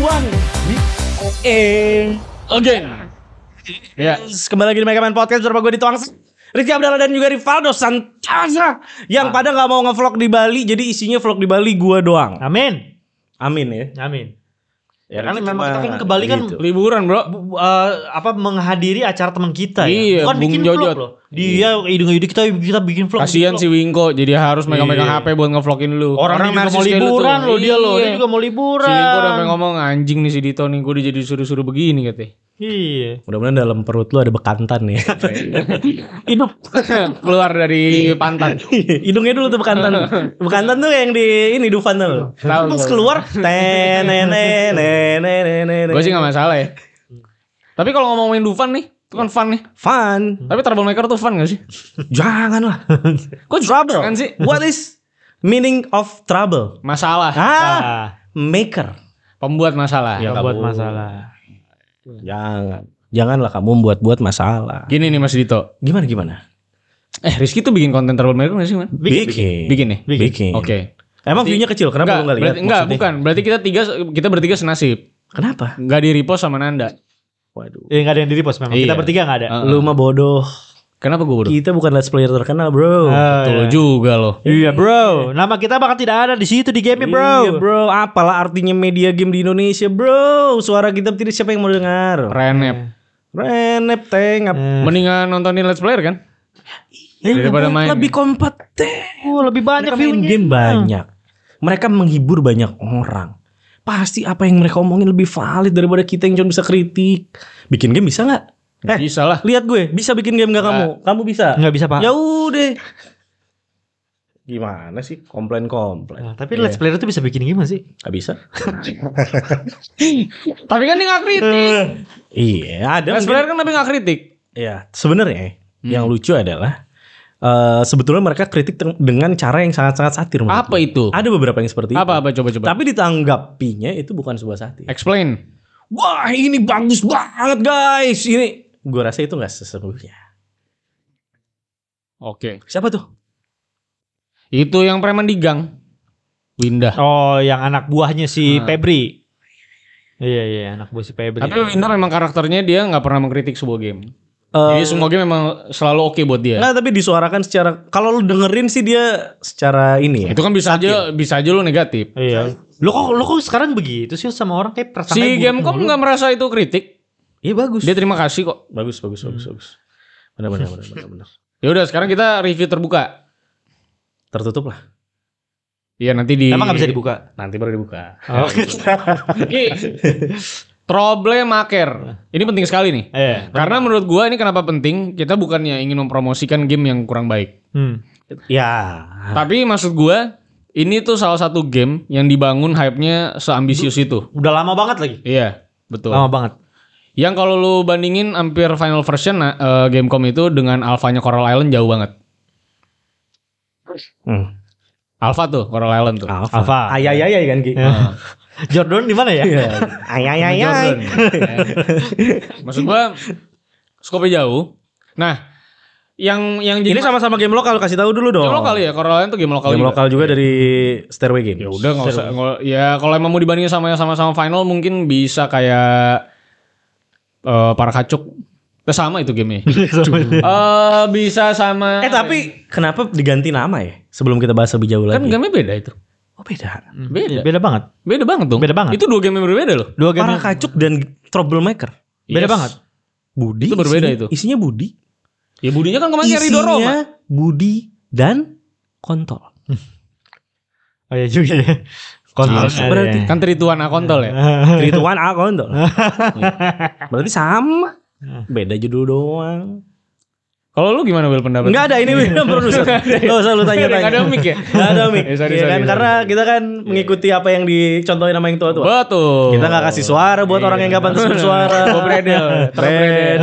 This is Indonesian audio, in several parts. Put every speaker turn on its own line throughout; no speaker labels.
uang. Eh, again. Ya, kembali lagi di Mega Man Podcast bersama gue di Tuang Rizky Abdallah dan juga Rivaldo Santaza yang pada nggak mau ngevlog di Bali, jadi isinya vlog di Bali gue doang.
Amin.
Amin ya.
Amin.
Ya
Karena
itu
memang
cuma
kita kan ke Bali kan
gitu. liburan bro.
Bu- bu- eh, apa menghadiri acara teman kita ya.
Iya,
Bukan
Bung
bikin
Jojot.
vlog loh. Dia hidung-hidung kita kita bikin vlog.
Kasihan
bikin
si
vlog.
Wingko jadi harus megang-megang
Iya.
HP buat ngevlogin lu.
Orang, dia juga mau
narsis kayak lu
liburan
tuh.
loh dia loh. Dia
Iya.
juga mau
Si
liburan.
Wingko udah sampe ngomong anjing nih si Dito nih gue jadi disuruh-suruh begini katanya.
Iya.
Mudah-mudahan dalam perut lu ada bekantan ya.
Hidup keluar dari pantat.
Iya.
Hidungnya dulu tuh bekantan. Bekantan tuh yang di ini Dufan tuh.
Tahu,
Terus
tahu.
keluar tenenenenenenen.
Gue sih gak masalah ya. Tapi kalau ngomongin Dufan nih, itu kan fun nih.
fun.
Tapi troublemaker tuh fun gak sih?
Janganlah. Kok trouble?
Kan sih?
What is meaning of trouble?
Masalah.
Ah,
Ah,
maker.
Pembuat masalah.
Iya.
nggak
kamu.
buat masalah.
Jangan. Janganlah kamu buat-buat masalah.
Gini nih Mas Dito.
Gimana gimana?
Eh Rizky tuh bikin konten troublemaker gak sih man? Bikin nih?
Bikin.
Bikin.
Oke.
Emang view-nya kecil, kenapa lu
Enggak,
enggak lihat?
berarti, enggak
maksudnya?
bukan. Berarti kita tiga kita bertiga senasib.
Kenapa?
Enggak di repost sama Nanda.
Waduh.
Ya enggak ada yang di repost memang. Kita
Iya.
bertiga enggak ada.
Heeh.
Lu mah bodoh.
Kenapa gue bodoh?
Kita bukan let's player terkenal, bro.
Ah,
Betul
iya.
juga loh.
Iya bro, nama kita bakal tidak ada di situ di game bro.
Iya, bro. Apalah artinya media game di Indonesia, bro? Suara kita tidak siapa yang mau dengar.
Renep.
Renep teng. ap-
Eh,
Mendingan nontonin Let's Player kan? Daripada main.
Lebih kompeten.
oh, lebih banyak
Mereka main
view-nya.
game banyak. Mereka menghibur banyak orang. Pasti apa yang mereka omongin lebih valid daripada kita yang cuma bisa kritik. Bikin game bisa nggak? Eh,
Bisa lah.
lihat gue, bisa bikin game nggak kamu? Kamu bisa?
Nggak bisa pak.
Ya udah. Gimana sih komplain-komplain?
Nah, tapi let's player itu bisa bikin game nggak sih?
Gak bisa?
Tapi kan dia gak kritik.
Iya, ada
Let's
mungkin-
Player kan tapi gak kritik.
Ya, sebenarnya yang lucu adalah eh, sebetulnya mereka kritik teng- dengan cara yang sangat-sangat satir. menurut
Apa
gue.
itu?
Ada beberapa yang seperti itu.
Apa-apa coba-coba.
Tapi ditanggapinya itu bukan sebuah satir.
Iya. Explain.
Wah, ini bagus banget guys. Ini gue rasa itu nggak sesungguhnya.
Oke.
Siapa tuh?
Itu yang preman di gang. Winda.
Oh, yang anak buahnya si
Nah.
Febri. Iya iya, anak buah si Febri.
Tapi Winda memang karakternya dia nggak pernah mengkritik sebuah game.
Eh,
Jadi semua game memang selalu oke buat dia.
Nah, tapi disuarakan secara kalau lu dengerin sih dia secara ini ya.
itu kan bisa aja bisa aja lu negatif.
Iya. Lo kok lo kok sekarang begitu sih sama orang kayak
Si
prasangka
Gamecom nggak merasa itu kritik.
Iya bagus.
Dia terima kasih kok.
Bagus, bagus, bagus, bagus. Benar, benar, benar, benar, benar.
Ya udah sekarang kita review terbuka.
Tertutup lah.
Iya nanti di
Emang nggak bisa dibuka.
Nanti baru dibuka.
Oh.
Problemaker. Ini penting sekali nih.
Iya.
Karena menurut gua ini kenapa penting? Kita bukannya ingin mempromosikan game yang kurang baik.
Hmm.
Ya.
Tapi maksud gua ini tuh salah satu game yang dibangun hype-nya seambisius itu.
Udah lama banget lagi.
Iya, betul.
Oh.
Lama banget.
Yang kalau lu bandingin hampir final version nah, eh, Gamecom itu dengan alfanya Coral Island jauh banget.
Hmm.
Alpha tuh Coral Island tuh.
Alpha.
Alpha.
Ayayayay kan Ki.
Jordan di mana ya?
Ayayayay.
Maksud gua skopnya jauh. Nah, yang yang
Ini
jadi
sama-sama game lokal iya. kasih tahu dulu dong.
game lokal ya, Coral Island tuh game lokal
Game
juga.
lokal juga dari Stairway Game.
Ya udah nggak usah. nggak- ya kalau emang mau dibandingin sama yang sama-sama final mungkin bisa kayak eh para kacuk. Eh, sama itu gamenya. Eh bisa sama.
Eh tapi kenapa diganti nama ya? Sebelum kita bahas lebih jauh
kan
lagi.
gamenya beda itu.
oh beda.
Beda.
Beda banget.
Beda banget dong.
Iya, Beda banget.
Itu dua game yang berbeda loh.
Dua game.
Para kacuk dan troublemaker.
Beda
Yes.
banget.
Budi.
Itu berbeda
isinya-
itu.
Isinya Budi.
Ya budinya kan kemarin Ridho Roma.
Isinya Budi dan kontol.
Oh iya juga ya. Kontrol
Iya, berarti.
Kan Trituan Akontol ya.
Three to one, ah kontol. Berarti sama. Beda judul doang.
Kalau lu gimana Wil pendapat?
Enggak ada ini William produser. Enggak usah lu tanya-tanya.
Nggak ada mic ya?
Nggak ada mic.
Eh, sorry,
Iya
sorry,
kan
sorry.
karena kita kan mengikuti apa yang dicontohin sama yang tua-tua.
Betul.
Kita nggak kasih suara buat orang yang nggak pantas
Iya.
bersuara.
Berbredel.
Terbredel.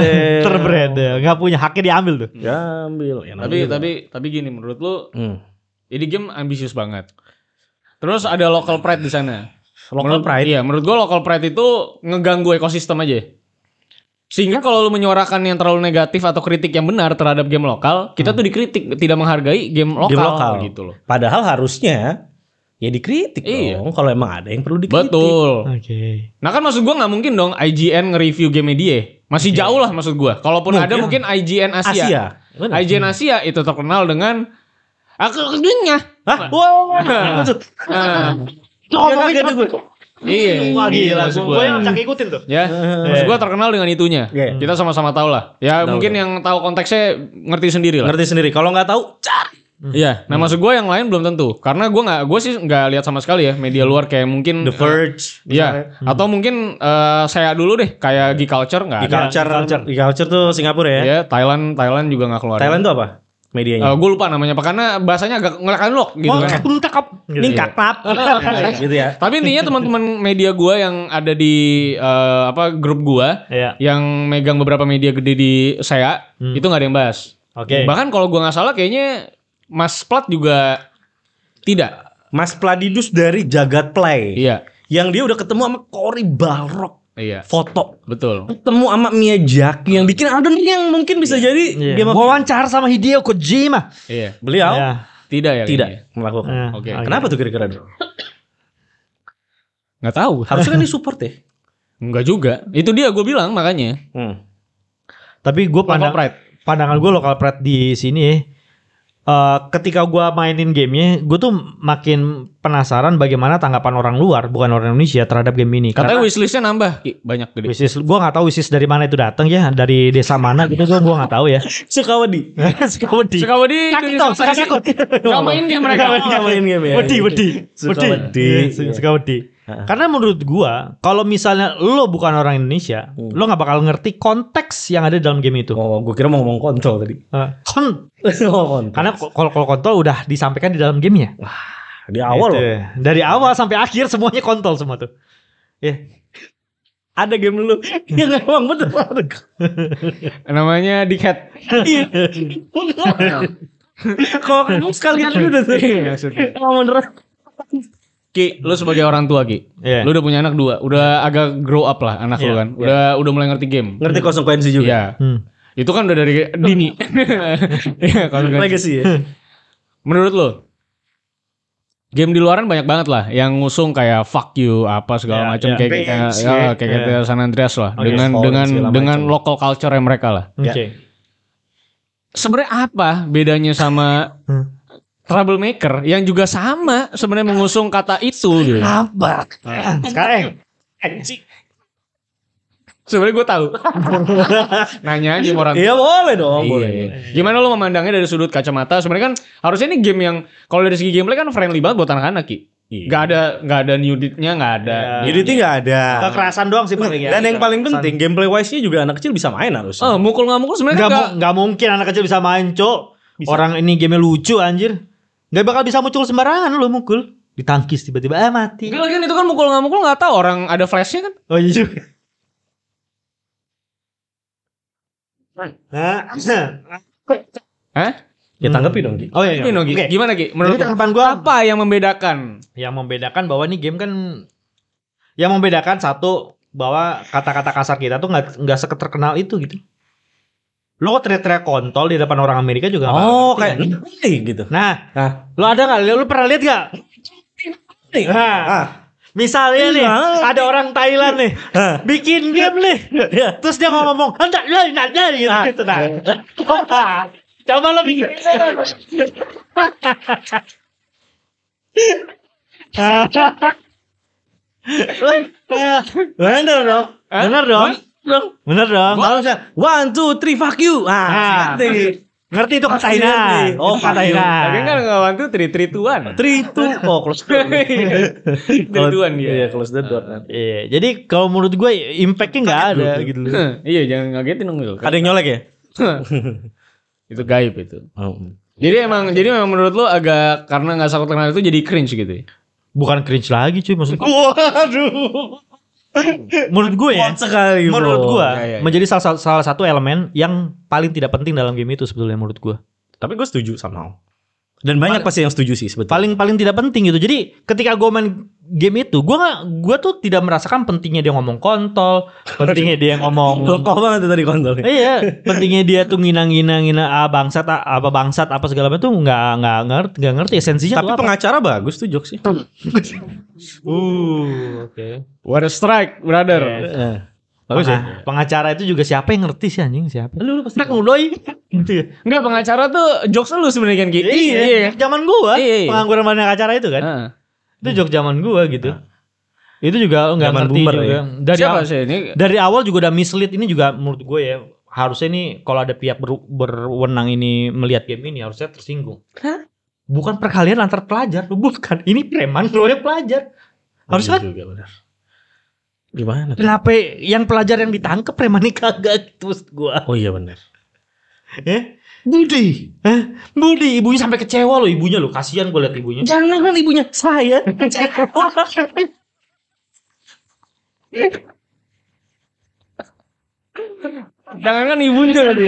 Terbrand ya. Nggak punya haknya diambil tuh.
Ya ambil. Ya,
Tapi
ambil.
tapi tapi gini menurut lu
Hmm.
Ini game ambisius banget. Terus ada local pride di sana.
Local
Menurut-
pride.
Iya, menurut gua local pride itu ngeganggu ekosistem aja. Sehingga kalau lu menyuarakan yang terlalu negatif atau kritik yang benar terhadap game lokal, kita tuh dikritik tidak menghargai game lokal,
Game lokal.
gitu loh.
Padahal harusnya ya dikritik
Iya.
dong kalau emang ada yang perlu dikritik.
Betul.
Oke.
Nah kan maksud gua nggak mungkin dong IGN nge-review game dia. Masih jauh lah maksud gua. Kalaupun ada mungkin IGN Asia.
Asia. Benar.
IGN Asia itu terkenal dengan Ah, aku dunia.
Hah? Wah, wah,
Iya.
Nah,
wah.
Ngomongin
Kaget gue.
iya.
Wah gila,
Maksud
gue yang cak ikutin tuh.
Ya, maksud gua terkenal dengan itunya.
Eh. Iya.
Kita sama-sama tahu lah. Ya
Tahu,
mungkin yang tahu konteksnya ngerti sendiri
Iya.
lah.
Ngerti sendiri. Kalau nggak tahu, cari.
Iya.
Hmm.
Nah maksud gua yang lain belum tentu. Karena gua nggak, gua sih nggak lihat sama sekali ya media luar kayak
Hmm.
mungkin.
The Verge. Hmm.
Iya. Atau mungkin eh, saya dulu deh kayak Geek Culture nggak
Di
ada.
culture, di culture tuh Singapura
Iya,
ya.
Ya Thailand, Thailand juga nggak keluar.
Thailand iya. tuh apa?
Oh,
Medianya.
gue lupa namanya, apa, karena bahasanya agak ngelakan loh gitu
iya,
kan.
Ini kakap. Gitu ya.
Tapi intinya teman-teman media gua yang ada di eh, apa grup gua
Iya.
yang megang beberapa media gede di saya
Hmm.
itu nggak ada yang bahas.
Oke.
Bahkan kalau gua nggak salah kayaknya Mas Plat juga tidak.
Mas Pladidus dari Jagat Play.
Iya.
Yang dia udah ketemu sama Cory Balrog
Iya.
foto.
Betul.
Ketemu sama Mia Jaki yang bikin Alden Ring yang mungkin bisa jadi
Iya.
dia mau
Wawancara sama Hideo Kojima.
Iya.
beliau
Iya.
Tidak ya?
tidak
kayaknya.
melakukan.
Oke.
Kenapa tuh kira-kira? Dok?
Nggak tahu.
Harusnya kan di support ya.
Nggak juga. Itu dia gue bilang makanya.
Hmm.
Tapi gue
Local
pandang
pride.
pandangan gue lokal pride di sini eh ketika gue mainin gamenya, gue tuh makin penasaran bagaimana tanggapan orang luar, bukan orang Indonesia terhadap game ini.
Katanya wishlistnya nambah Ki. banyak gede.
Wisis, gue nggak tahu Wisis dari mana itu datang ya, dari desa mana gitu, gue gue nggak tahu ya.
Sukawadi.
Sukawedi.
Suka wedi.
Kakito, Sakakot.
Nggak main dia mereka.
Nggak main game ya.
Wedi, wedi.
Suka wedi.
Iya, su- Suka wedi.
Ha-ha.
Karena menurut gua, kalau misalnya lo bukan orang Indonesia,
Hmm.
lo nggak bakal ngerti konteks yang ada dalam game itu.
Oh, gue kira mau ngomong kontrol tadi.
Eh, kon-
Ngomong kontrol.
karena ko- kalau kalau kontol udah disampaikan di dalam gamenya.
Nah, di awal
Gitu.
loh.
Dari awal sampai akhir semuanya kontol semua tuh. Ya,
Ada game lu yang emang bener
Namanya Dickhead.
Iya. Kalau kamu sekali kali udah tuh. Emang bener.
Ki, lu sebagai orang tua Ki,
Iya.
lu udah punya anak dua, udah agak grow up lah anak lu
Iya,
kan, udah udah mulai ngerti game.
Ngerti konsekuensi juga.
Iya,
Hmm.
itu kan udah dari dini. Iya, kalau kan.
Legacy ya.
Menurut lu, game di luaran banyak banget lah yang ngusung kayak fuck you apa segala
Iya,
macam
iya.
kayak kita,
Revenge,
ya,
iya.
kayak kita San Andreas lah,
Oke,
dengan dengan
foreign, Oh, iya, segala
dengan
macam.
local culture mereka lah.
Oke.
Ya.
Sebenarnya apa bedanya sama
Hmm.
Troublemaker yang juga sama sebenarnya mengusung kata itu gitu.
Apa?
Sekarang eh,
Sebenarnya gue tahu. Nanya aja sama orang.
Iya boleh dong,
Iya.
boleh.
Gimana lo memandangnya dari sudut kacamata? Sebenarnya kan harusnya ini game yang kalau dari segi gameplay kan friendly banget buat anak-anak ki.
Iya.
Gak ada nggak ada nuditnya nggak ada.
Iya.
Jadi itu nggak ada.
kekerasan doang sih paling ya.
Dan yang paling penting gameplay wise-nya juga anak kecil bisa main harusnya.
Oh, mukul nggak mukul sebenarnya
Nggak
nggak.
mu- nggak mungkin anak kecil bisa main, Cok. Orang ini game lucu anjir. Nggak bakal bisa muncul sembarangan lo mukul. Ditangkis tiba-tiba ah mati.
Gila kan itu kan mukul nggak mukul nggak tahu orang ada flashnya kan.
Oh iya juga. Nah,
Hah?
Ya tanggapi dong, Ki.
oh iya, iya.
Gimana Ki?
Oke.
Gimana Ki? Menurut
Jadi
lo,
tanggapan gua-
apa yang membedakan?
Yang membedakan bahwa ini game kan yang membedakan satu bahwa kata-kata kasar kita tuh nggak nggak seketerkenal itu gitu. Lo kok teriak-teriak kontol di depan orang Amerika juga nggak
Oh,
ngerti,
kayak
kan?
Hey, gitu.
Nah,
Nah,
lo ada nggak? Lo pernah lihat nggak?
hey.
Nah,
Ah.
misalnya nih
Iya.
ada orang Thailand nih
Hah.
bikin game nih,
Iya.
terus dia ngomong, "Hendak, lah, nah, nah," gitu, gitu, nah. Coba lo bikin.
Bener dong.
Hah?
Bener dong.
Dong.
Bener dong.
Kalau misalnya one two three fuck you.
Ah.
Ah, ngerti.
Ngerti itu kata Ina.
Ngerti.
Oh, kata Ina.
Tapi kan nggak bantu tri tri tuan.
Three two. Oh, close the door.
Tri tuan
Iya,
dia.
close the door. nanti.
Iya, jadi kalau menurut gue impactnya nggak ada gitu loh.
Heh, Iya jangan ngagetin dong Wil.
Kan-
Ada yang nyolek ya?
itu gaib itu.
Oh.
Jadi emang jadi memang menurut lo agak karena nggak sakut kenal itu jadi cringe gitu. ya?
Bukan cringe lagi cuy maksud gue.
Waduh.
Menurut gue ya.
Kuat sekali. bro. Ya,
Menurut gue
Iya, iya, iya.
menjadi salah, salah satu elemen yang paling tidak penting dalam game itu sebetulnya menurut gue.
Tapi gue setuju somehow. Dan banyak pasti yang setuju sih sebetulnya.
paling paling tidak penting gitu. Jadi ketika gue main game itu, gue nggak gue tuh tidak merasakan pentingnya dia ngomong kontol, pentingnya dia ngomong
Kokoh banget tuh tadi konsolnya.
iya, pentingnya dia tuh nginang-nginang-nginang ah, bangsat ah, apa bangsat apa segala macam tuh nggak nggak ngerti nggak ngerti esensinya
Tapi
tuh apa.
pengacara bagus tuh jokesnya.
Uh, oke.
What a strike, brother.
Heeh.
Bagus
Eh, Bagus ya.
ya. Pengacara itu juga siapa yang ngerti sih anjing siapa?
Lu, lu pasti- Iya.
Nak ngudoi. Gitu ya.
Enggak pengacara tuh jokes lu sebenarnya kan
Iya.
Ki.
Zaman gua
Iya, iya.
pengangguran banyak acara itu kan.
Heeh.
Itu jok zaman gua gitu. Itu juga nggak
Nah. Zaman
ngerti
boomer
juga.
ya.
Dari
Siapa
awal,
sih ini?
dari awal juga udah mislead ini juga menurut gue ya harusnya nih kalau ada pihak ber- berwenang ini melihat game ini harusnya tersinggung. Bukan perkalian antar pelajar, bukan. Ini preman royal pelajar.
Oh,
Harusnya kan
juga benar. Gimana? tuh?
kenapa yang pelajar yang ditangkap preman ini kagak gitu maksud gua.
Oh iya benar.
Eh? Budi. Eh? Budi, ibunya sampai kecewa loh ibunya loh. Kasihan gue liat ibunya.
Jangan kan ibunya saya.
Jangan kan ibunya tadi.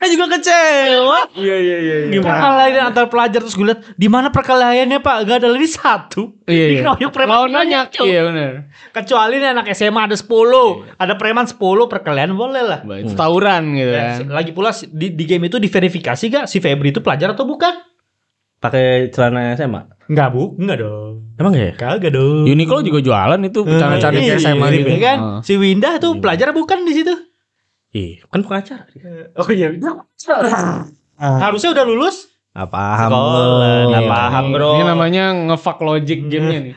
Saya juga kecewa.
Iya iya iya. iya.
Perkelahian antar pelajar terus gue liat di mana perkelahiannya Pak? Gak ada lagi satu.
Iya iya.
Dikeroyok preman
Lawan banyak.
banyak, cuy.
Iya benar.
Kecuali nih anak SMA ada 10, ada preman 10 perkelahian boleh lah.
Baik, itu tawuran gitu kan.
Dan Lagi pula si- di, di game itu diverifikasi gak si Febri itu pelajar atau bukan?
Pakai celana SMA.
Enggak bu, enggak dong.
Emang gak ya?
Kagak dong.
Uniqlo juga jualan itu cara-cara
Eh,
kayak
iya,
SMA
iya,
gitu
kan?
Heeh. Iya.
Si Winda tuh pelajar bukan di situ?
Ih, kan pengacara.
Oh iya. Harusnya udah lulus?
Nggak paham.
Sekolah,
lo.
nggak paham, bro.
Iya. Ini namanya ngefuck logic gamenya nih.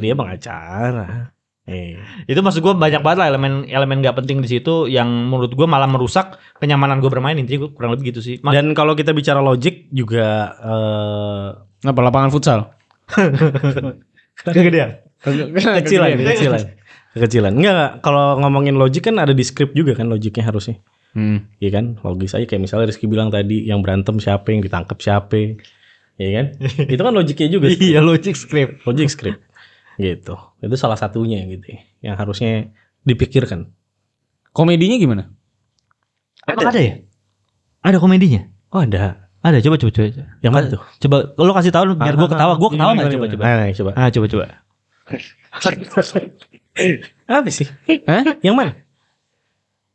Dia pengacara. Eh.
itu maksud gue banyak banget lah elemen elemen gak penting di situ yang menurut gue malah merusak kenyamanan gue bermain intinya gue kurang lebih gitu sih Mas,
Dan kalau kita bicara logik juga eh
Kenapa lapangan futsal?
kegedean
kecilan,
Kegedean.
kecilan. Kecilan. Enggak, enggak. kalau ngomongin logik kan ada di script juga kan logiknya harusnya.
Hmm.
Iya kan? Logis aja kayak misalnya Rizky bilang tadi yang berantem siapa, yang ditangkap siapa. Iya kan? Itu kan logiknya juga. sih.
iya logic script
Logik script. Gitu. Itu salah satunya gitu ya, yang harusnya dipikirkan.
Komedinya gimana?
ada. ada ya ada komedinya
Oh, ada.
ada coba coba coba coba.
Yang mana
Ada.
tuh?
coba lo kasih tahu biar gue ketawa gue ketawa nggak coba coba
Nah, coba.
ah coba coba
Apa sih?
Hah?
Yang mana?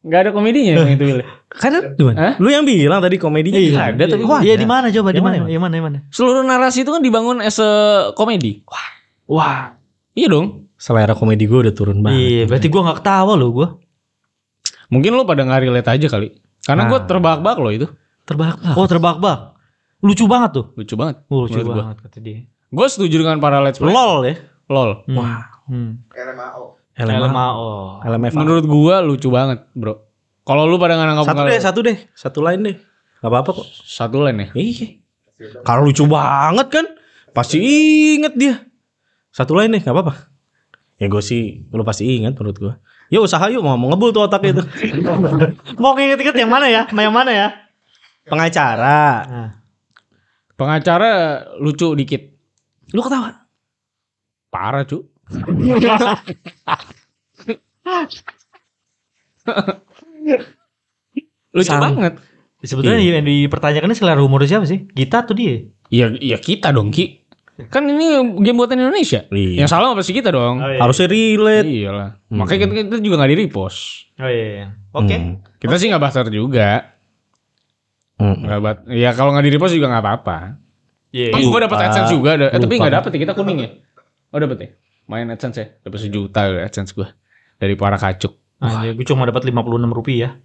Gak ada komedinya yang itu Wil.
Karena gimana?
Hah?
Lu yang bilang tadi komedinya
Iya,
ada tapi
Wah, iya di
mana?
mana coba di
Yang
mana
mana,
yang mana yang mana
Seluruh narasi itu kan dibangun as a komedi. Wah. Wah. Iya dong.
Selera komedi gue udah turun banget.
iya berarti gue nggak ketawa lo gue
Mungkin lu pada nggak relate aja kali. Karena gua terbahak-bahak loh itu.
Terbakar.
oh terbak-bak lucu banget tuh
Lucu banget.
Oh, lucu
Menurut gua.
banget kata dia
Gue setuju dengan para let's play.
lol ya
Lol.
wah hmm.
LMA.
LMAO
LMFA.
Menurut gua lucu banget, Bro. Kalau lu pada nggak nanggap
Satu deh, satu deh. Satu lain deh. Gak apa-apa kok.
satu lain ya.
Iya. Karena lucu banget kan. Pasti inget dia. Satu lain deh, gak apa-apa. Ya gue sih, lu pasti ingat menurut gue. Ya usaha yuk, mau mau ngebul tuh otaknya itu.
mau inget-inget yang mana ya yang mana ya
Pengacara.
Nah.
Pengacara lucu dikit.
Lu ketawa.
Parah, cu. lucu
Sang.
banget.
Sebetulnya yang dipertanyakannya selera humornya siapa sih? Kita tuh dia.
Ya, ya kita dong Ki. Kan ini game buatan Indonesia.
Iya.
Yang salah pasti kita dong.
Oh, iya.
Harusnya relate.
Iyalah. Makanya kita, kita juga nggak di repost.
Oh iya. iya. Oke.
Hmm.
Kita sih nggak baster juga.
Mm.
Nggak bat. Ya kalau nggak di repost juga nggak apa-apa.
Iya.
Gue gua dapat
Lupa.
adsense juga. ada- Eh, tapi
Lupa.
nggak dapet ya. Kita kuning ya. Oh dapet ya. Main adsense ya. Dapet sejuta udah adsense gua dari para kacuk.
Anjir, gue Nah, iya, cuma dapat 56 rupiah.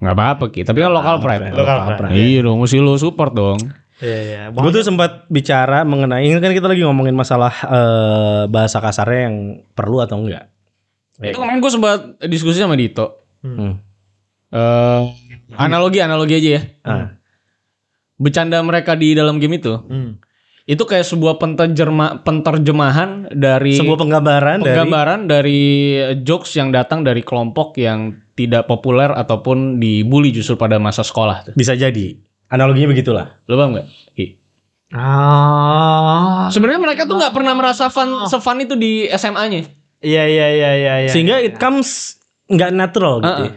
Nggak apa-apa Ki. Tapi kan
Nah,
lokal pride.
Lokal pride.
Iya dong. Mesti lo support dong.
Iya iya.
Gue tuh sempat bicara mengenai ini kan kita lagi ngomongin masalah eh, bahasa kasarnya yang perlu atau enggak. Iya.
Itu kemarin gue sempat diskusi sama Dito.
Hmm.
Eh, analogi analogi aja ya.
Ah.
Bercanda mereka di dalam game itu
Hmm.
itu kayak sebuah penterjema, penterjemahan dari
Sebuah penggambaran,
penggambaran dari... jokes yang datang dari kelompok yang tidak populer ataupun dibully justru pada masa sekolah. tuh.
dari bisa jadi analoginya begitulah.
Lo paham nggak? Iya. Ki?
Ah.
Sebenarnya mereka tuh nggak pernah merasa
Oh.
fun, sefun itu di SMA-nya.
Iya iya iya iya. iya.
Sehingga it comes nggak natural gitu.
Ah,
ya.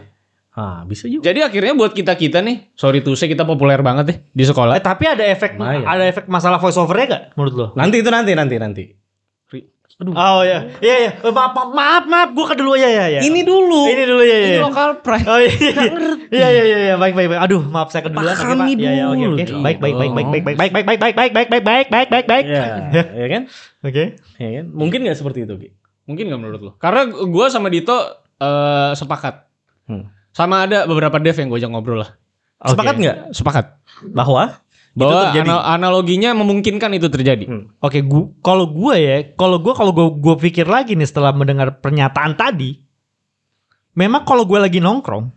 Ah, bisa juga.
Jadi akhirnya buat kita-kita nih, sorry to say kita populer banget deh di sekolah.
Eh, tapi ada efek
Lumayan.
ada efek masalah voice overnya gak menurut lo?
Nanti itu nanti nanti nanti.
Oh ya, iya iya. Eh, Maaf maaf maaf, maaf. gue ke dulu ya ya ya.
Ini dulu.
ini dulu ya ya.
Ini
ya.
lokal pride.
Oh iya, iya, iya, iya, iya, iya, baik, baik, baik. Aduh, maaf saya keduluan. Oke, Pak.
Pahami
Iya, iya, oke,
dulu
oke.
dong.
Baik, baik, baik, baik, baik, baik, baik, baik, baik, baik, baik, baik, baik, baik, baik, baik.
Iya, ya kan?
Oke.
Ya kan? Mungkin nggak seperti itu, Ki?
Mungkin nggak menurut lo? Karena gue sama Dito eh, sepakat.
Hmm.
Sama ada beberapa dev yang gue ajak ngobrol lah. Iya.
Oke.
Sepakat nggak
Sepakat.
bahwa itu
Bahwa
terjadi?
ana- analoginya memungkinkan itu terjadi.
Hmm.
Oke, gua kalau gua ya, kalau gua kalau gua gua pikir lagi nih setelah mendengar pernyataan tadi, memang kalau gua lagi nongkrong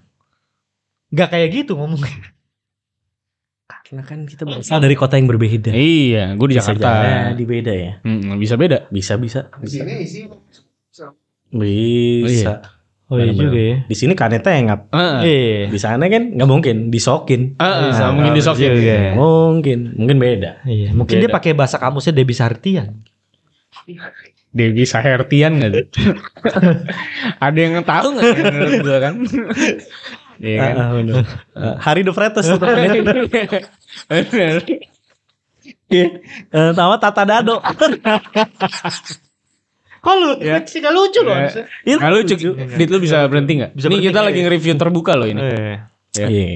nggak kayak gitu ngomongnya.
Karena kan kita berasal dari kota yang berbeda.
Iya, gue di
Bisa
Jakarta.
jadi beda ya.
Hmm, bisa beda.
Bisa bisa.
Di sini isi
Bisa.
Oh iya
Bener-bener.
juga ya.
Di sini kaneta yang ngap.
Heeh.
Iya.
Di sana kan nggak mungkin disokin.
Heeh,
Bisa,
mungkin di Sofia.
juga.
Nggak Mungkin, mungkin beda.
Iya, mungkin dia
ya, Beda.
pakai bahasa kamusnya Debbie Sartian.
Dewi Sahertian nggak tuh? Ada yang tahu nggak? ya, Menurut gue kan. Iya kan.
Ah, ah, bener. Ah, Hari de Fretes tuh terkenal.
Bener.
Iya. Eh, Nama Tata Dado.
Kok lu
Iya.
sih gak lucu loh. harusnya. Iya.
Itu
Nah, lu cek, Dit lu bisa berhenti nggak?
Bisa
Ini
berhenti
kita
nggak,
lagi
ya?
nge-review terbuka loh ini.
Iya.
Ya.
Iya.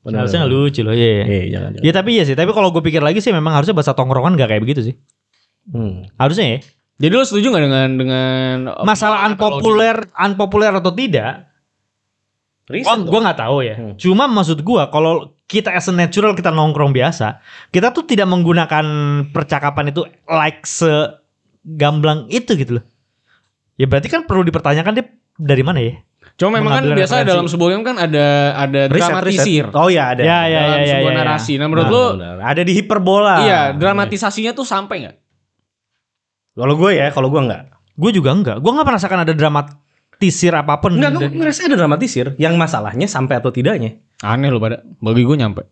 Benar.
Harusnya gak lucu loh, iya.
Iya, jangan. jangan.
Ya tapi iya sih, tapi kalau gue pikir lagi sih memang harusnya bahasa tongkrongan gak kayak begitu sih.
Hmm.
Harusnya ya.
Jadi lu setuju nggak dengan dengan
Masalah unpopuler, unpopuler atau tidak,
Riset
oh,
dong.
gue nggak tahu ya.
Hmm.
Cuma maksud gue kalau kita as a natural kita nongkrong biasa, kita tuh tidak menggunakan percakapan itu like segamblang itu gitu loh. Ya berarti kan perlu dipertanyakan dia dari mana ya?
Cuma memang kan
mengambil
biasa
referensi.
dalam sebuah game kan ada ada
Riset, riset.
dramatisir
Oh iya ada.
Ya, ya,
dalam
ya, ya,
sebuah
ya, ya.
narasi. Nah menurut lu
Benar, benar. ada di hiperbola.
iya dramatisasinya tuh sampai nggak?
Kalau gue ya, kalau gue enggak.
Gue juga enggak. Gue nggak merasakan ada dramatisir apapun.
Enggak, gue
Dan-
ngerasa ada dramatisir. Yang masalahnya sampai atau tidaknya.
Aneh lu pada. Bagi gue nyampe.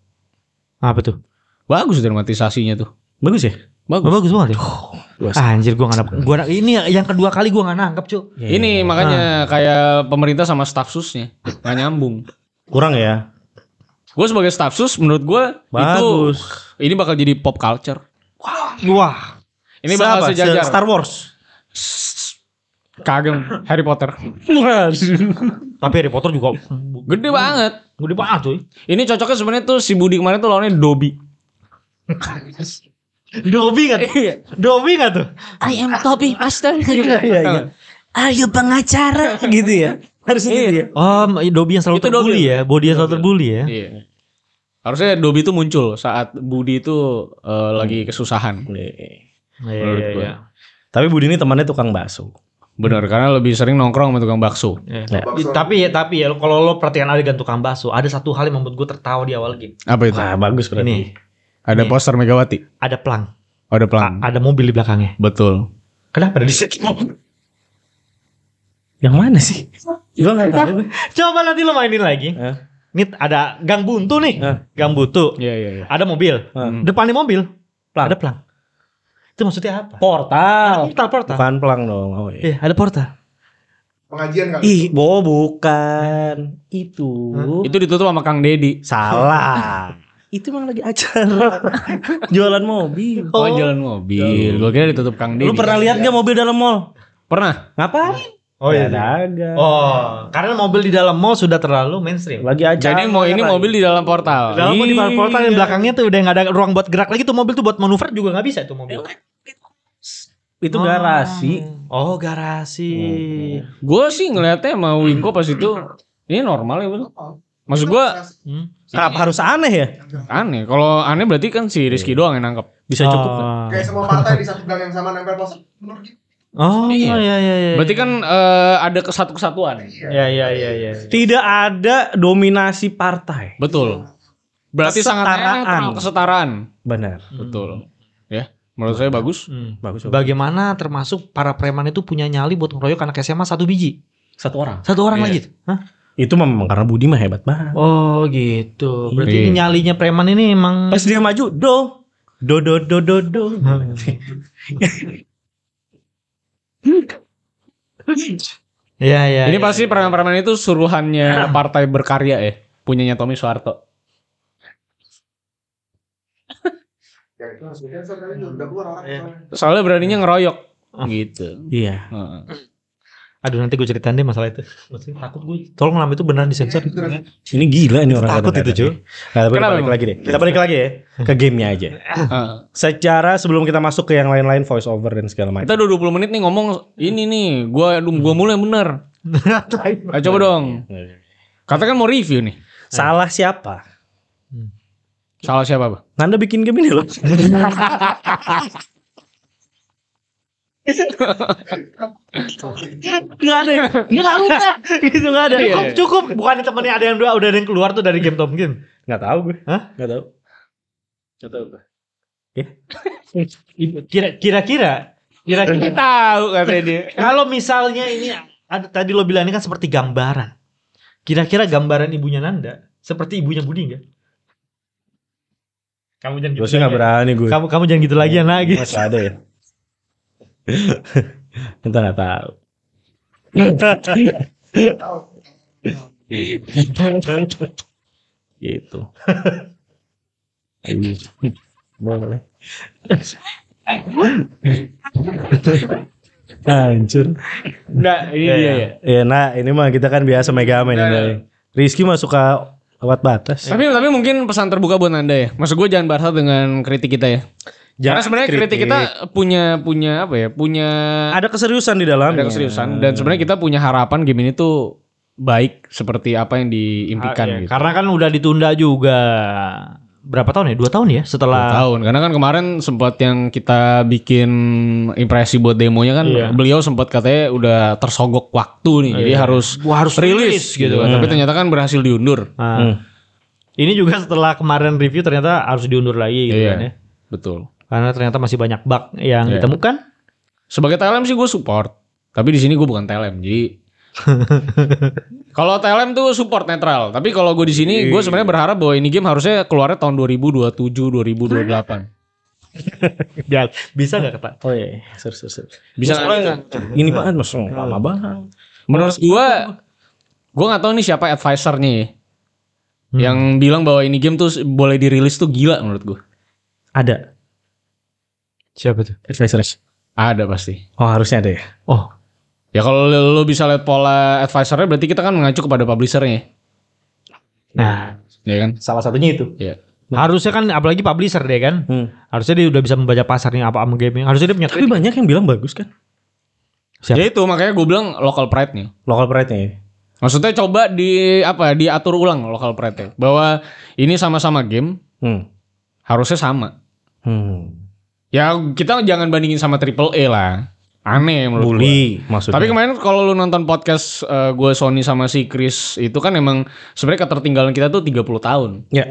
apa tuh?
Bagus dramatisasinya tuh.
Bagus ya?
Bagus.
Bagus banget ya.
gua-
Ah, anjir gue nggak nangkep. Gua, ini yang kedua kali gue nggak nangkep cuy.
Ini makanya kayak pemerintah sama staf susnya nggak nyambung.
Kurang ya?
Gue sebagai staf sus menurut gue itu
Bagus.
ini bakal jadi pop culture.
Wah.
Ini bakal
Apa?
sejajar.
Star Wars.
Kagem Harry Potter.
Tapi Harry Potter juga
Gede banget.
gede banget cuy.
Ini cocoknya sebenarnya tuh si Budi kemarin tuh lawannya Dobi.
Dobi nggak tuh? Dobi nggak tuh?
I am Toby Master.
Iya, iya. Are you pengacara? gitu ya. Harusnya gitu ya.
Oh, Dobi yang selalu
Itu
terbully
Dobby.
ya, Bodi yang selalu terbully ya.
Iya. Harusnya Dobi tuh muncul saat Budi itu eh, lagi kesusahan.
Iya
Menurut
iya
gua.
iya.
Tapi Budi ini temannya tukang bakso.
Bener karena lebih sering nongkrong sama tukang bakso.
Iya. Tapi ya tapi ya kalau lo perhatian adegan tukang bakso, ada satu hal yang membuat gue tertawa di awal game.
Apa itu?
Wah, bagus berarti.
Ini
Ada poster Megawati. Oh,
ada pelang, a-
Ada pelang.
ada mobil di belakangnya.
Betul.
Kenapa ada di situ?
Yang mana sih? Gue gak tahu.
Coba nanti lo mainin lagi.
Hah?
Ini ada gang buntu nih,
Hah?
gang buntu.
Iya iya iya.
Ada mobil,
Hah?
depannya mobil,
Pelang.
ada pelang. Itu maksudnya apa?
Portal.
Portal, portal.
Bukan pelang dong. Oh, iya.
Iya, ada portal.
pengajian kali.
Ih, bo bukan. Itu.
Itu ditutup sama Kang Dedi.
Salah. itu emang lagi acara jualan mobil.
Oh, jalan mobil. Gue kira ditutup Kang Dedi.
Lu pernah lihat gak mobil dalam mall?
Pernah.
Ngapain?
Oh iya.
dagang.
Oh, karena mobil di dalam mall sudah terlalu mainstream.
Lagi acara. kan
Jadi mau ini
lagi.
mobil di dalam portal.
Dalam mall di
Iya.
portal yang belakangnya tuh udah nggak ada ruang buat gerak lagi tuh mobil tuh buat manuver juga nggak bisa tuh mobil.
itu garasi.
Oh, garasi.
Gue sih ngeliatnya sama Winko pas itu ini normal ya betul. Maksud gue
Hmm.
Kenapa harus aneh ya?
aneh. Kalau aneh berarti kan si Rizky doang yang nangkep. Oh.
Bisa cukup. nggak?
Kayak semua partai di satu gang yang sama nempel poster. Menurut gitu.
Oh,
Iya.
iya iya iya.
Berarti kan eh, ada kesatu kesatuan.
ya.
Iya iya iya iya.
Tidak ada dominasi partai.
Betul. Berarti sangat
Kesetaraan.
netral, kesetaraan.
Benar.
Betul. Ya, menurut saya bagus.
Hmm.
Bagus. bagus.
Bagaimana termasuk para preman itu punya nyali buat ngeroyok anak SMA satu biji?
Satu orang.
Satu orang
Iya.
lagi. tuh. Hah?
Itu memang karena Budi mah hebat banget.
Oh, gitu. Berarti
Iya.
ini nyalinya preman ini emang
Pas dia maju, do, do do do do do.
Iya, iya.
Ini
iya.
pasti permen-permen itu suruhannya partai berkarya ya. Punyanya Tommy Soeharto.
Ya itu harus di cancel kali itu udah keluar orang.
Iya.
soalnya.
Soalnya beraninya ngeroyok.
Ah.
Hmm. Gitu.
Iya.
Heeh.
Aduh nanti gue ceritain deh masalah itu. Maksudnya takut gue. Tolong lam itu beneran disensor.
Iya, beneran. Iya,
Ini gila ini orang
Takut itu, Ju.
Nah, tapi kita
Kenapa
balik
emang?
lagi deh. Kita balik lagi ya ke gamenya aja.
Heeh.
Secara sebelum kita masuk ke yang lain-lain voice over dan segala macam.
Kita udah 20 menit nih ngomong ini nih, gua gua mulai yang bener. Ayo Eh, coba dong. Katakan mau review nih.
Salah siapa?
Salah siapa, Bang?
Nanda bikin game ini loh.
Gak ada yang Gak Iya, ada Gitu gak ada Cukup cukup Bukan temennya ada yang dua Udah ada yang keluar tuh dari game Tom Game
Nggak tahu gue.
Hah?
Nggak tahu. Nggak tahu.
Kira- Kira-kira Kira-kira
Tahu katanya dia.
Kalau misalnya ini ada Tadi lo bilang ini kan seperti gambaran Kira-kira gambaran ibunya Nanda Seperti ibunya Budi gak? Kamu jangan gitu
Gue sih nggak
lagi ya.
berani gue.
Kamu, kamu jangan gitu lagi ya lagi
Masih ada ya. Kita nggak tahu.
Tahu.
gitu. Boleh. Hancur.
Enggak, ini dia ya.
Ya, nah ini mah kita kan biasa megamen
Nah,
ini. Rizky mah suka lewat batas.
Tapi tapi mungkin pesan terbuka buat Anda ya. Maksud gua jangan basah dengan kritik kita ya. Karena sebenarnya kritik. kita punya punya apa ya? Punya
ada keseriusan di dalamnya.
ada keseriusan dan sebenarnya kita punya harapan game ini tuh baik seperti apa yang diimpikan
Ah, iya.
gitu.
Karena kan udah ditunda juga Berapa tahun ya? Dua tahun ya
Dua
setelah
tahun karena kan kemarin sempat yang kita bikin impresi buat demonya kan
Iya.
beliau sempat katanya udah tersogok waktu nih jadi harus
Gua harus
rilis gitu kan.
Iya.
tapi ternyata kan berhasil diundur
Ah.
Hmm.
Ini juga setelah kemarin review ternyata harus diundur lagi gitu kan ya.
betul
Karena ternyata masih banyak bug yang
Iya.
ditemukan.
sebagai TLM sih gue support tapi di sini gue bukan TLM jadi kalau TLM tuh support netral tapi kalau gue di sini gue sebenarnya berharap bahwa ini game harusnya keluarnya tahun 2027 2028
Ya, bisa nggak Pak?
Oh iya, ser ser ser.
bisa kan?
Ini banget mas, lama banget.
Menurut gua gua nggak tahu nih siapa advisernya ya. Yang bilang bahwa ini game tuh boleh dirilis tuh gila menurut gua.
Ada.
Siapa tuh?
Advisors.
Ada pasti.
Oh harusnya ada ya.
Oh,
Ya kalau lo bisa lihat pola advisernya berarti kita kan mengacu kepada publishernya.
nah
Ya kan?
Salah satunya itu.
Ya.
harusnya kan apalagi publisher deh kan.
Hmm.
Harusnya dia udah bisa membaca pasarnya apa sama game Harusnya dia punya
Tapi banyak yang bilang bagus kan.
Siap.
Ya itu makanya gua bilang local pride-nya.
Local pride-nya ya.
Maksudnya coba di apa diatur ulang local pride-nya bahwa ini sama-sama game
Hmm.
harusnya sama.
Hmm.
Ya kita jangan bandingin sama triple A lah. Aneh menurut gua.
Bully maksudnya.
Tapi kemarin kalau lu nonton podcast gue Sony sama si Chris itu kan emang sebenarnya ketertinggalan kita tuh 30 tahun.
ya.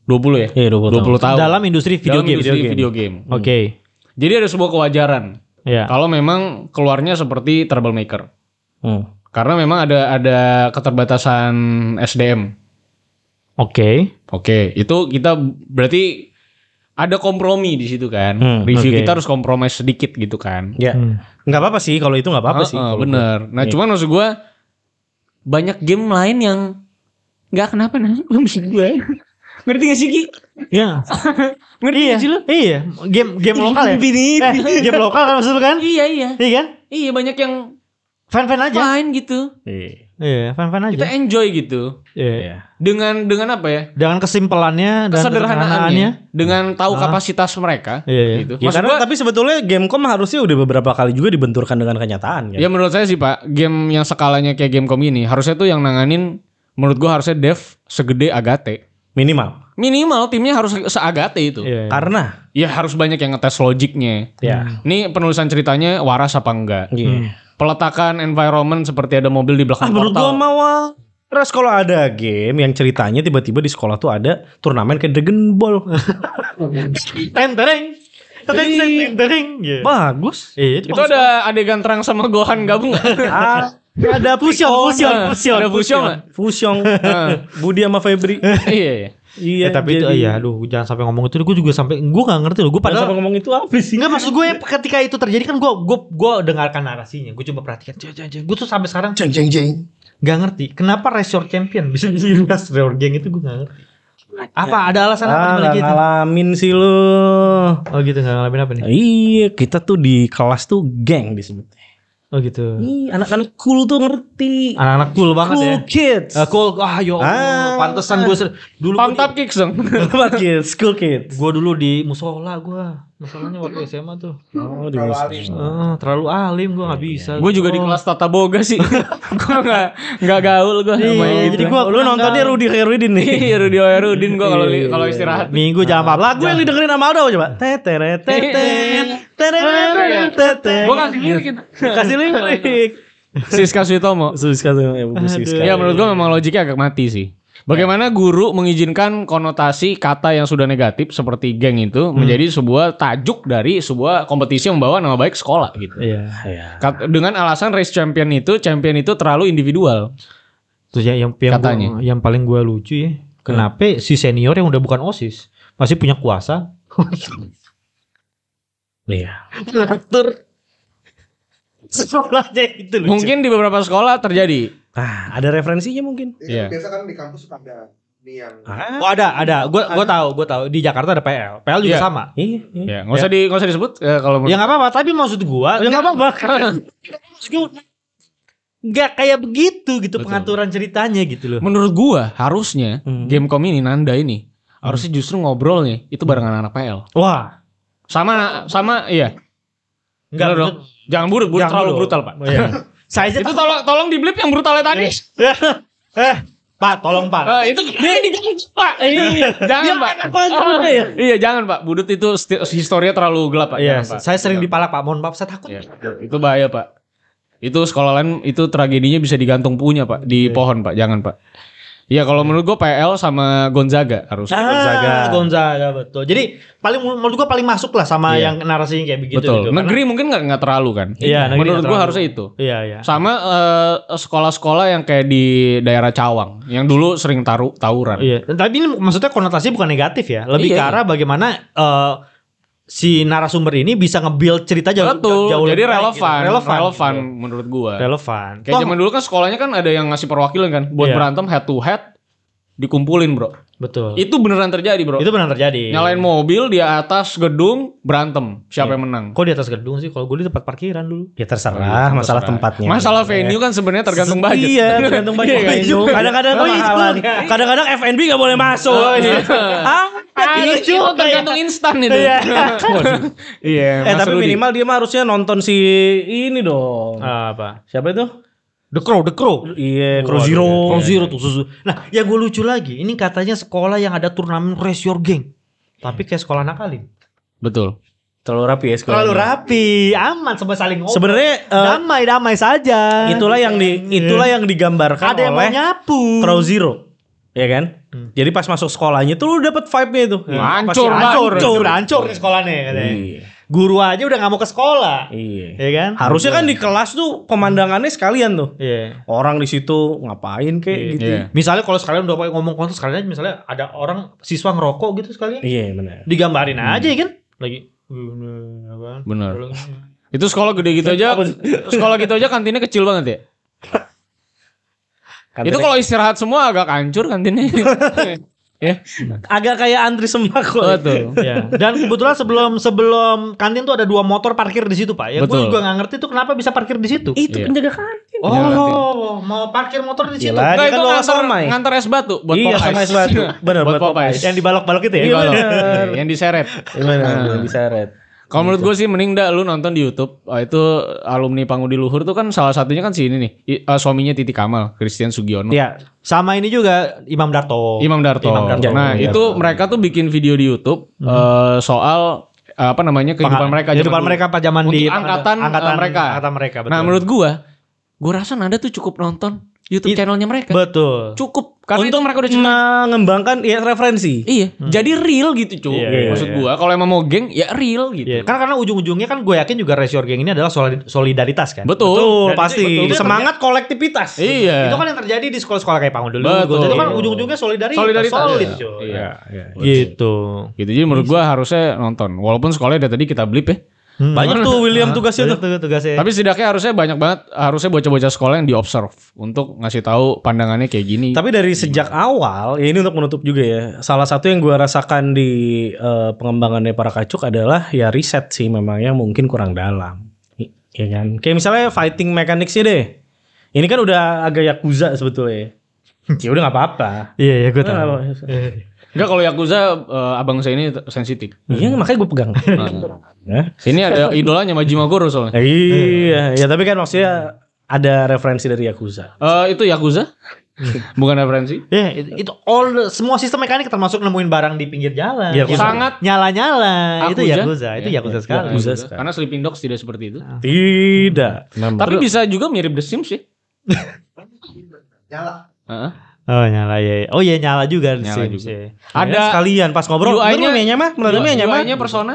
20 ya?
Iya, 20 tahun.
20 tahun.
dalam industri video
Dalam
game.
industri
Video game.
video game.
Oke.
Jadi ada sebuah kewajaran
Ya.
kalau memang keluarnya seperti troublemaker.
Hmm.
Karena memang ada ada keterbatasan SDM.
Oke.
Oke, itu kita berarti ada kompromi di situ kan.
Hmm,
Review
oke.
kita harus kompromi sedikit gitu kan.
Ya.
Hmm.
Nggak apa-apa sih kalau itu nggak apa-apa sih.
Heeh,
kalau
bener. Nah,
Iya.
cuman maksud gua banyak game lain yang nggak kenapa nah, maksud gua. Ngerti gak sih Ki?
Ya.
Ngerti
iya.
gak sih lu?
Iya. Game game lokal ya.
Bini.
Eh, game lokal kan maksud lu kan?
Iya iya.
Iya kan?
Iya banyak yang
Fan-fan aja.
main gitu.
gitu. Iya.
Iya, fan-fan aja.
Kita enjoy gitu.
Iya.
Iya.
Dengan dengan apa ya?
Dengan kesimpelannya dan kesederhanaannya.
Kesederhanaannya dengan tahu
Ah.
kapasitas mereka
Iya, iya.
gitu.
Ya,
Maksud
karena,
gua,
tapi sebetulnya Gamecom harusnya udah beberapa kali juga dibenturkan dengan kenyataan kan.
ya menurut saya sih Pak, game yang skalanya kayak Gamecom ini harusnya tuh yang nanganin menurut gua harusnya dev segede Agate.
Minimal.
Minimal timnya harus se- seagate itu.
Iya.
Karena
Ya harus banyak yang ngetes logiknya.
ya.
Ini penulisan ceritanya waras apa enggak?
Hmm.
Iya.
Peletakan environment seperti ada mobil di
Ah,
belakang
menurut gua
portal.
mau Terus kalau ada game yang ceritanya tiba-tiba di sekolah tuh ada turnamen kayak Dragon Ball.
Ten tereng. Ten tereng ten tereng. Iya.
Bagus.
Iya, itu,
itu ada adegan terang sama Gohan gabung. Ada
Ah, ada fusion, Ah. Eh, fusion, fusion.
Ada fusion. nggak?
Fusion
Heeh.
Budi sama Febri.
Iya. iya.
Iya,
Eh, tapi itu
jadi-
ya aduh jangan sampai ngomong itu gue juga sampai gue nggak ngerti loh gue
Padahal
padahal
ngomong itu apa sih?
Enggak maksud gue ketika itu terjadi kan gue gue gue dengarkan narasinya gue coba perhatikan jeng jeng jeng gue tuh sampai sekarang
Jeng jeng jeng.
nggak ngerti kenapa Resor Champion bisa jadi Ras Reor Gang itu gue nggak ngerti apa ada alasan apa
Ah,
dibalik
nggak
itu
ngalamin sih lu.
oh gitu nggak ngalamin apa nih
Iya, kita tuh di kelas tuh geng disebutnya.
oh gitu
Ih, anak-anak cool tuh ngerti.
anak-anak cool banget
cool
ya
kids.
Eh, cool ah yo
Ah.
pantesan gue ser- dulu
Pump
gue
up kicks dong.
Cool kids, cool kids.
gue dulu di musola gue musolanya waktu SMA tuh
Oh, di
Kalau
Wisma.
alim.
Eh, terlalu alim gue nggak bisa
gue juga di
Oh.
kelas tata boga sih. gue nggak nggak gaul gue. sama yang
Iya,
gitu.
jadi gue
Lu nontonnya Rudy Herudin nih.
Iya, Rudy Oerudin gue kalau
Iya,
li- kalau istirahat.
minggu jam 14
Lagu yang didengerin sama Aldo coba. Tetere
Eh,
tetere
Gue kasih
iya.
lirikin.
kasih lirik.
Siska Suitomo.
Siska tuh ya, Bu Siska.
Ya menurut gue memang logiknya agak mati sih. Bagaimana guru mengizinkan konotasi kata yang sudah negatif seperti geng itu menjadi sebuah tajuk dari sebuah kompetisi yang membawa nama baik sekolah gitu.
Iya, iya.
Kat- Dengan alasan race champion itu, champion itu terlalu individual.
Terus ya yang yang,
Katanya.
gua- yang paling gua lucu ya, kenapa si senior yang udah bukan OSIS masih punya kuasa
Iya.
ngatur sekolahnya itu lucu.
Mungkin di beberapa sekolah terjadi.
Ah, ada referensinya mungkin.
Itu
Iya.
Biasa kan di kampus suka ada nih yang
Ah,
Oh ada ada gua gua tahu gua tahu di Jakarta ada PL. PL juga
Iya.
sama.
iya. iya.
Ya, nggak usah di nggak usah disebut ya, kalau
Ya nggak apa-apa tapi maksud gua
Ya, nggak apa-apa.
nggak kayak begitu gitu
Betul.
pengaturan ceritanya gitu loh.
menurut gua harusnya
Hmm.
Gamecom ini Nanda ini harusnya justru ngobrolnya itu bareng anak-anak PL.
Wah,
Sama sama iya.
Nggak,
Bener dong. Jangan buruk, buruk
Jangan
terlalu
dong.
brutal, Pak.
Iya. saya aja
itu tolong tolong di blip yang brutalnya tadi.
eh Pak tolong Pak.
Eh, itu Pak. jangan, Pak.
Apa ya?
Iya, jangan, Pak. Budut itu sti- historinya terlalu gelap, Pak.
Iya,
Jangan, Pak.
saya sering dipalak Pak. Mohon maaf saya takut.
Iya. Itu bahaya, Pak. Itu sekolah lain itu tragedinya bisa digantung punya, Pak, di pohon, Pak. Jangan, Pak. Iya, kalau menurut gua PL sama Gonzaga harus.
Ah,
Gonzaga.
Gonzaga betul. Jadi paling menurut gua paling masuk lah sama
Iya.
yang narasinya kayak begitu. gitu.
Betul.
Karena-
Negeri mungkin nggak nggak terlalu kan.
Iya, negeri
Menurut
nggak
gua
terlalu.
harusnya itu.
Iya iya.
Sama eh, sekolah-sekolah yang kayak di daerah Cawang, yang dulu sering taruh tawuran.
Iya. Tapi ini maksudnya konotasi bukan negatif ya. Lebih
Iya,
ke arah bagaimana eh, si narasumber ini bisa nge-build cerita jauh
Betul.
jauh
Jadi
lebih baik
relevan,
gitu.
relevan,
Relevan.
menurut gua.
gitu. Relevan.
Kayak
Toh-
zaman dulu kan sekolahnya kan ada yang ngasih perwakilan kan buat
Iya.
berantem head to head dikumpulin, Bro.
betul. Itu,
Itu beneran terjadi, Bro.
benar terjadi.
Iya. Nyalain mobil di atas gedung berantem, siapa yang menang?
Kok di atas gedung sih? Kalau gue di tempat parkiran dulu.
Ya terserah masalah tempatnya.
Masalah venue kan sebenarnya tergantung budget.
Iya, tergantung budget.
Iya, kan?
venue. Kadang-kadang
Oh, itu
mahalan.
kan.
iya. Kadang-kadang FNB nggak boleh masuk. Ah,
Iya,
Ah,
ini
itu
juga ya.
tergantung instan itu.
Iya.
Waduh. Iya.
Eh
Mas
tapi
Rudi.
minimal dia mah harusnya nonton si ini dong.
Apa?
Siapa itu?
The Crow, The Crow.
Iya,
Kan Waduh,
Crow
ya,
Zero.
Crow Zero tuh susu. Nah, yang gue lucu lagi, ini katanya sekolah yang ada turnamen race your gang. Tapi kayak sekolah nakalin.
Betul.
Terlalu rapi ya sekolahnya.
Terlalu rapi, aman sampai saling ngobrol.
Sebenarnya eh,
damai-damai saja.
itulah yang di itulah yang digambarkan
Iya. ada yang mau
oleh
nyapu.
Crow Zero. Ya kan?
Hmm.
Jadi pas masuk sekolahnya tuh lu dapet vibe-nya itu.
Iya.
Pasti
Hancur,
hancur.
hancur, udah hancur nih sekolahnya katanya.
Iya.
Guru aja udah nggak mau ke sekolah.
Iya.
Iya kan?
Harusnya kan di kelas tuh pemandangannya sekalian tuh.
Iya.
Orang di situ ngapain kayak gitu.
Iya.
Misalnya kalau sekalian udah pakai ngomong kontes sekalian aja misalnya ada orang siswa ngerokok gitu sekalian.
Iya, Hmm. benar.
Digambarin aja ya kan? Lagi "Gimana, apaan?
Benar.
Tolong."
Itu sekolah gede gitu aja. sekolah gitu aja kantinnya kecil banget ya. Itu kalau istirahat semua agak hancur kantinnya. Iya. ya.
agak kayak antri semak kok.
Oh, tuh.
Ya. Dan kebetulan sebelum sebelum kantin tuh ada dua motor parkir di situ pak. Ya gue
Betul.
juga nggak ngerti tuh kenapa bisa parkir di situ.
Itu
Iya.
penjaga kantin.
Oh, mau parkir motor di situ.
Gila. Tadi
Enggak
kan
itu
bawa
ngantar,
somai.
ngantar es batu buat
iya,
Popeyes.
sama es batu. Benar,
buat
buat
Popeyes.
Popeyes.
Yang dibalok-balok itu ya?
Iya,
Kalau-
benar.
yang diseret.
Gimana?
Nah.
diseret.
Kalau menurut gue sih mending dah lu nonton di YouTube. Oh, itu alumni Pangudi Luhur tuh kan salah satunya kan si ini nih, I- eh, suaminya Titi Kamal, Christian Sugiono.
Iya.
Sama ini juga Imam Darto.
Imam Darto.
Imam Darto.
Nah,
Imam
itu mereka tuh bikin video di YouTube eh, soal eh, apa namanya kehidupan mereka
Kehidupan
zaman dulu.
mereka pas zaman
Untuk
di
angkatan, eh, mereka.
Iya. Angkatan mereka.
Nah, menurut gua Gue rasa Nanda tuh cukup nonton YouTube
It-
channelnya mereka.
Betul.
Cukup karena itu
Untuk
mereka udah cuma
mengembangkan ya referensi.
Iya,
Hmm.
jadi real gitu, cuy.
Iya, iya,
Maksud
iya.
gua kalau emang mau geng ya real gitu.
Iya, karena karena ujung-ujungnya kan gue yakin juga Raise Your Gang ini adalah solid- solidaritas kan.
Betul.
Betul,
Dan
pasti.
itu- itu yang
Semangat kolektivitas.
Iya.
Itu kan yang terjadi di sekolah-sekolah kayak Pangu dulu.
Betul.
Itu kan ujung-ujungnya solidaritas.
solidaritas.
Solid,
Iya,
cuy.
Iya, iya. Gitu.
Gitu.
Gitu jadi menurut gua harusnya nonton. Walaupun sekolahnya dari tadi kita blip ya.
Hmm.
Banyak tuh
Ah.
William tugasnya tuh.
Banyak tugasnya.
Tapi setidaknya harusnya banyak banget harusnya bocah-bocah sekolah yang diobserve untuk ngasih tahu pandangannya kayak gini.
Tapi dari sejak awal, ya ini untuk menutup juga ya. Salah satu yang gua rasakan di eh, pengembangannya para kacuk adalah ya riset sih memang yang mungkin kurang dalam. I- Ya kan? Kayak misalnya fighting mechanics-nya deh. Ini kan udah agak yakuza sebetulnya. ya udah nggak apa-apa.
Iya, iya gue
Nggak
tahu.
Ah,
apa-apa.
Enggak kalau Yakuza eh, abang saya ini t- sensitif.
Iya makanya gue pegang. Nah.
Ini ada idolanya Majima Goro soalnya.
Iya, ya tapi kan maksudnya ada referensi dari Yakuza.
Eh, itu Yakuza? Bukan referensi.
Iya, itu, itu all the- semua sistem mekanik termasuk nemuin barang di pinggir jalan.
Iya,
Gitu.
sangat.
nyala-nyala. Itu
Yakuza.
Yakuza, itu
Iya,
Yakuza sekali.
Yakuza. sekali. Ah.
Karena Sleeping Dogs tidak seperti itu.
Tidak.
Tapi bisa juga mirip The Sims sih.
Nyala.
Heeh.
Oh, nyala ya. Oh iya, nyala juga di
Nyala
Sims,
juga.
iya.
Ada
Ada
sekalian pas ngobrol
UI-nya-
bener mainnya mah, bener mainnya mah.
UI-nya Iya, persona,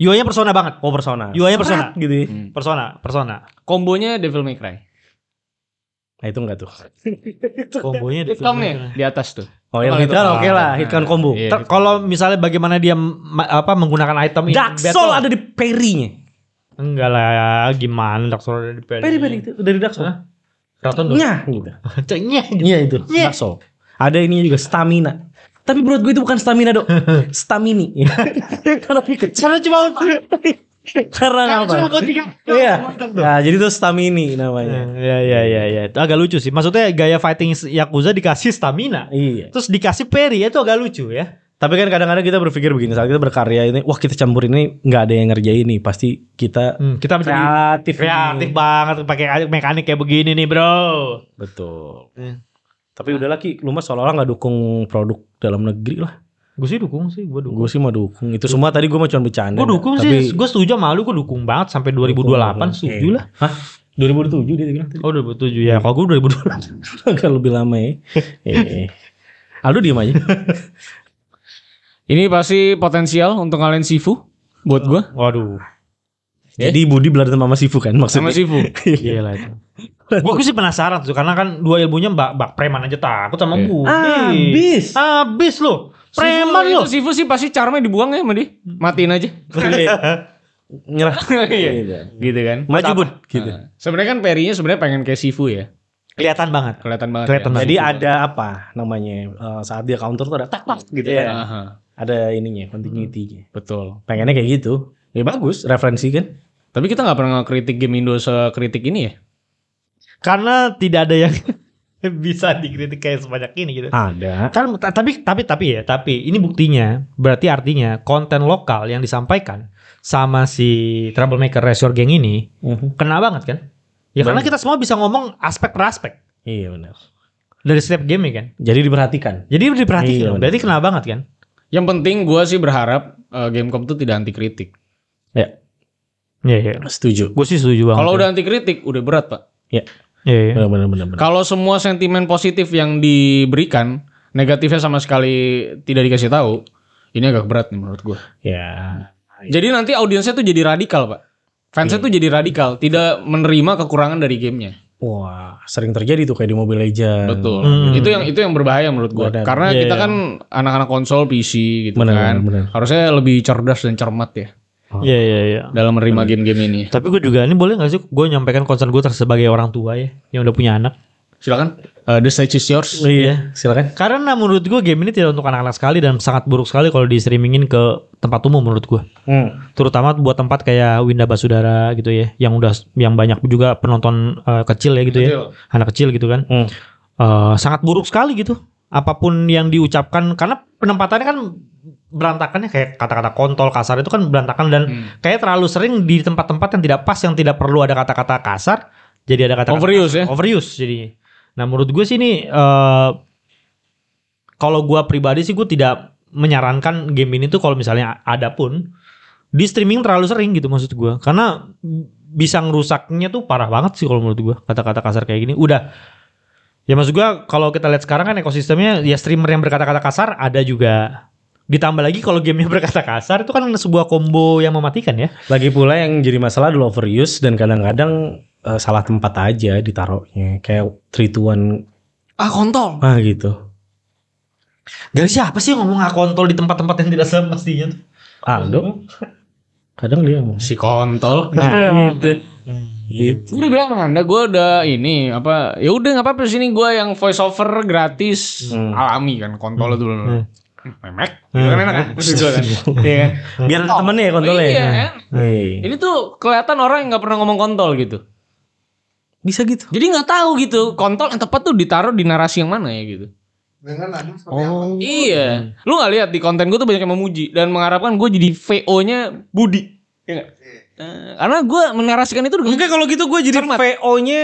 UI-nya persona banget.
Oh persona.
UI-nya persona.
gitu. ya.
Hmm.
Persona, persona.
kombonya Devil May Cry.
Nah itu enggak tuh.
Kombonya di
Hitcom nih di atas tuh.
Oh yang
Kalau
hitkan
itu-
oke lah,
Nah,
hitkan combo.
iya.
Ter- kalau misalnya bagaimana dia ma- apa menggunakan item
Dark Soul ada di perinya.
Enggak lah, gimana Dark Soul ada di peri?
Peri-peri itu dari Dark Soul.
Keraton dong.
Nyah gitu.
Cengnya.
Iya itu,
Nyeh.
Dark Soul. Ada ininya juga stamina. Tapi menurut gue itu bukan stamina, Dok. Stamini. Karena kecil.
Karena cuma
Karena apa? Iya. Nah, jadi itu stamini namanya.
Ya ya ya ya, itu agak lucu sih. Maksudnya gaya fighting Yakuza dikasih stamina.
Iya.
Terus dikasih peri, itu agak lucu ya.
Tapi kan kadang-kadang kita berpikir begini, saat kita berkarya ini, wah kita campur ini nggak ada yang ngerjain nih, pasti kita
Hmm, kita menjadi
kreatif. nih.
kreatif banget pakai mekanik kayak begini nih, Bro.
Betul.
Iya.
Tapi udah lagi, lu mah seolah-olah nggak dukung produk dalam negeri lah.
Gue sih dukung sih, gue dukung.
Gue sih mau dukung. Itu semua tadi gue mau cuma bercanda.
Gue dukung
Tapi- Iya.
sih, gue setuju sama lu, gue dukung banget sampai 2028 setuju lah.
Hah? 2007 dia bilang tadi.
Oh 2007 ya, kalau gue 2028.
Agak lebih lama ya. eh. Aldo diem aja.
Ini pasti potensial untuk ngalahin Sifu buat gua.
Waduh,
Jadi Budi belajar sama Sifu kan
Sama
maksudnya.
Sifu.
gila itu. gue sih penasaran tuh, karena kan dua ilmunya mbak, mbak preman aja takut sama
Iya.
gue.
Abis.
Abis lo, preman
Sifu,
lo.
itu Sifu sih pasti charmnya dibuang ya sama dia. Matiin aja.
Nyerah.
Iya. gitu kan.
Maju Bud. Gitu.
Nah, sebenarnya kan perinya sebenarnya pengen kayak Sifu ya.
Kelihatan banget.
Kelihatan banget.
Kelihatan
ya.
banget.
Jadi ada apa namanya eh, saat dia counter tuh ada tak tak gitu
Iya.
ya.
Aha,
Ada ininya continuity-nya.
betul.
Pengennya kayak gitu. Ya bagus referensi kan.
Tapi kita nggak pernah ngekritik game Indo sekritik ini ya.
Karena tidak ada yang bisa dikritik kayak sebanyak ini gitu.
Ada.
Kan ta- tapi tapi tapi ya, tapi ini buktinya berarti artinya konten lokal yang disampaikan sama si troublemaker Resor Gang ini kena banget kan? Ya karena kita semua bisa ngomong aspek per aspek
Iya benar.
dari setiap game ya kan.
Jadi diperhatikan.
Jadi diperhatiin,
Iya,
loh.
bener.
berarti kena banget kan?
Yang penting gua sih berharap eh, Gamecom tuh tidak anti kritik.
Iya iya.
Setuju.
Gue sih setuju banget.
Kalau
ya.
udah anti kritik udah berat, Pak.
Iya, iya.
Benar benar benar. benar.
Kalau semua sentimen positif yang diberikan, negatifnya sama sekali tidak dikasih tahu, ini agak berat nih menurut gua.
Ya.
Jadi nanti audiensnya tuh jadi radikal, Pak.
Iya.
Fansnya tuh jadi radikal, tidak menerima kekurangan dari gamenya.
Wah, sering terjadi tuh kayak di Mobile Legends.
Betul.
Hmm.
Itu yang itu yang berbahaya menurut gua.
Benar.
Karena
Iya,
kita
iya.
kan anak-anak konsol PC gitu
Benar,
kan.
benar.
Harusnya lebih cerdas dan cermat ya
Iya iya iya.
dalam menerima game-game ini.
Tapi gue juga ini boleh gak sih gue nyampaikan concern gue sebagai orang tua ya yang udah punya anak.
Silakan. Eh, the stage is yours.
Iya, silakan.
Karena menurut gue game ini tidak untuk anak-anak sekali dan sangat buruk sekali kalau di streamingin ke tempat umum menurut gue. Terutama buat tempat kayak Winda Basudara gitu ya, yang udah yang banyak juga penonton eh, kecil ya gitu
Iya.
ya, anak kecil gitu kan.
Hmm.
Eh, sangat buruk sekali gitu. Apapun yang diucapkan karena penempatannya kan berantakannya kayak kata-kata kontol kasar itu kan berantakan dan
Hmm.
kayak terlalu sering di tempat-tempat yang tidak pas yang tidak perlu ada kata-kata kasar jadi ada kata-kata
Overuse ya.
overuse jadi nah menurut gue sih ini eh, kalau gue pribadi sih gue tidak menyarankan game ini tuh kalau misalnya ada pun di streaming terlalu sering gitu maksud gue karena bisa ngerusaknya tuh parah banget sih kalau menurut gua kata-kata kasar kayak gini udah ya maksud gua kalau kita lihat sekarang kan ekosistemnya ya streamer yang berkata-kata kasar ada juga ditambah lagi kalau gamenya berkata kasar itu kan sebuah combo yang mematikan ya
Lagi pula yang jadi masalah adalah overuse dan kadang-kadang eh, salah tempat aja ditaruhnya kayak three to one
Ah kontol.
ah gitu.
dari siapa sih yang ngomong akontol di tempat-tempat yang tidak semestinya tuh
Aldo kadang dia ngomong.
Si kontol.
gitu. Gitu.
Udah bilang sama anda, gue udah ini apa? Ya udah nggak apa-apa sini gue yang voice over gratis
Hmm.
alami kan kontol dulu.
Hmm.
Memek, gitu kan enak kan? Maksud gua kan? Iya kan?
Biar ada temennya ya kontrolnya.
Iya, kan?
Iya.
Ini tuh kelihatan orang yang nggak pernah ngomong kontol gitu.
Bisa gitu.
Jadi nggak tahu gitu kontol yang tepat tuh ditaruh di narasi yang mana ya gitu.
Dengan nada seperti apa?
Iya. Lu nggak lihat di konten gue tuh banyak yang memuji dan mengharapkan gue jadi VO-nya Budi. Iya nggak? Eh, karena gue menarasikan itu dengan
Enggak kalau gitu gue jadi
Hormat.
VO-nya